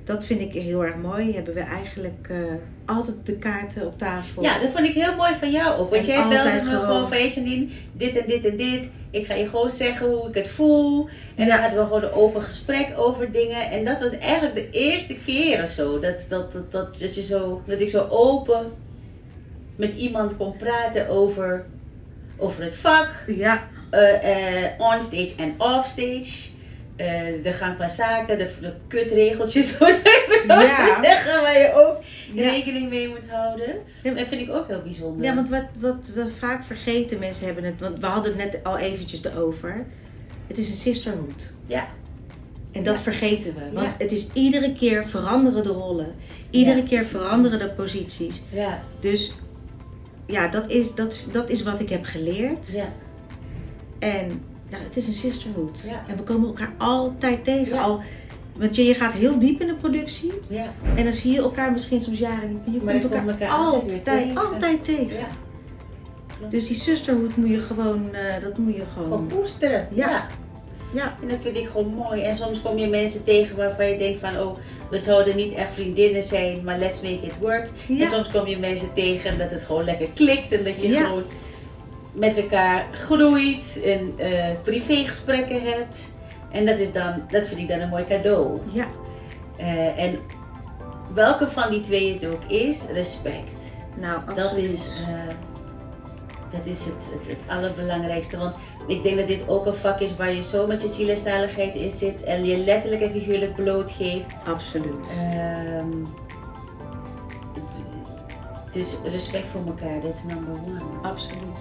Speaker 3: dat vind ik heel erg mooi, hebben we eigenlijk eh, altijd de kaarten op tafel.
Speaker 2: Ja, dat vond ik heel mooi van jou ook.
Speaker 3: En
Speaker 2: Want jij belde me
Speaker 3: altijd
Speaker 2: gewoon,
Speaker 3: gewoon.
Speaker 2: van, weet je Janine, dit en dit en dit. Ik ga je gewoon zeggen hoe ik het voel. En
Speaker 3: Ja.
Speaker 2: dan hadden we gewoon een open gesprek over dingen. En dat was eigenlijk de eerste keer of zo. Dat, dat, dat, dat, dat, je zo, dat ik zo open met iemand kon praten over, over het vak.
Speaker 3: Ja,
Speaker 2: eh eh onstage en offstage. eh de gang van zaken, de, de kutregeltjes, om het even zo
Speaker 3: Ja.
Speaker 2: te zeggen, waar je ook
Speaker 3: ja.
Speaker 2: rekening mee moet houden.
Speaker 3: Ja.
Speaker 2: Dat vind ik ook heel bijzonder.
Speaker 3: Ja, want wat, wat we vaak vergeten, mensen hebben het, want we hadden het net al eventjes erover. Het is een sisterhood.
Speaker 2: Ja.
Speaker 3: En dat
Speaker 2: Ja.
Speaker 3: vergeten we. Want het is iedere keer veranderen de rollen. Iedere
Speaker 2: Ja.
Speaker 3: keer veranderen de posities.
Speaker 2: ja,
Speaker 3: Dus ja, dat is, dat, dat is wat ik heb geleerd.
Speaker 2: ja,
Speaker 3: En nou, het is een sisterhood.
Speaker 2: Ja.
Speaker 3: En we komen elkaar altijd tegen.
Speaker 2: Ja.
Speaker 3: Al, want je, je gaat heel diep in de productie.
Speaker 2: ja.
Speaker 3: En dan zie je elkaar misschien soms jaren niet meer. Je
Speaker 2: Maar
Speaker 3: komt
Speaker 2: je komt
Speaker 3: elkaar,
Speaker 2: elkaar altijd weer
Speaker 3: altijd,
Speaker 2: tegen.
Speaker 3: altijd tegen.
Speaker 2: ja.
Speaker 3: Dus die sisterhood moet je gewoon, eh, dat moet je
Speaker 2: Gewoon
Speaker 3: gewoon.
Speaker 2: koesteren.
Speaker 3: Ja. Ja.
Speaker 2: En dat vind ik gewoon mooi. En soms kom je mensen tegen waarvan je denkt van, oh, we zouden niet echt vriendinnen zijn, maar let's make it work. En
Speaker 3: Ja.
Speaker 2: Dus soms kom je mensen tegen dat het gewoon lekker klikt en dat je
Speaker 3: Ja.
Speaker 2: gewoon met elkaar groeit en eh, privégesprekken hebt. En dat, is dan, dat vind ik dan een mooi cadeau.
Speaker 3: ja,
Speaker 2: Eh, en welke van die twee het ook is, respect.
Speaker 3: nou,
Speaker 2: Dat
Speaker 3: absoluut.
Speaker 2: is eh, Dat is het, het, het allerbelangrijkste. Want ik denk dat dit ook een vak is waar je zo met je ziel en zaligheid in zit. En je letterlijk en figuurlijk blootgeeft.
Speaker 3: Absoluut.
Speaker 2: Ehm, dus respect voor elkaar, dat is number one.
Speaker 3: Absoluut.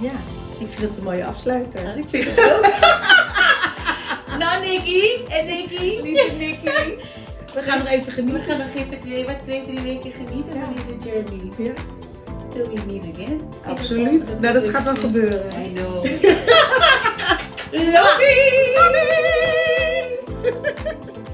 Speaker 3: Ja, ik vind het een mooie afsluiter.
Speaker 2: ik vind het ook. nou, Nicky en Nicky.
Speaker 3: Lieve Nicky. We gaan nog even
Speaker 2: We
Speaker 3: genieten.
Speaker 2: gaan nog even twee, wat twee, drie weken genieten van deze journey.
Speaker 3: Ja.
Speaker 2: Till we meet again.
Speaker 3: Absoluut. Nou, dat gaat wel gebeuren.
Speaker 2: I know. Love you.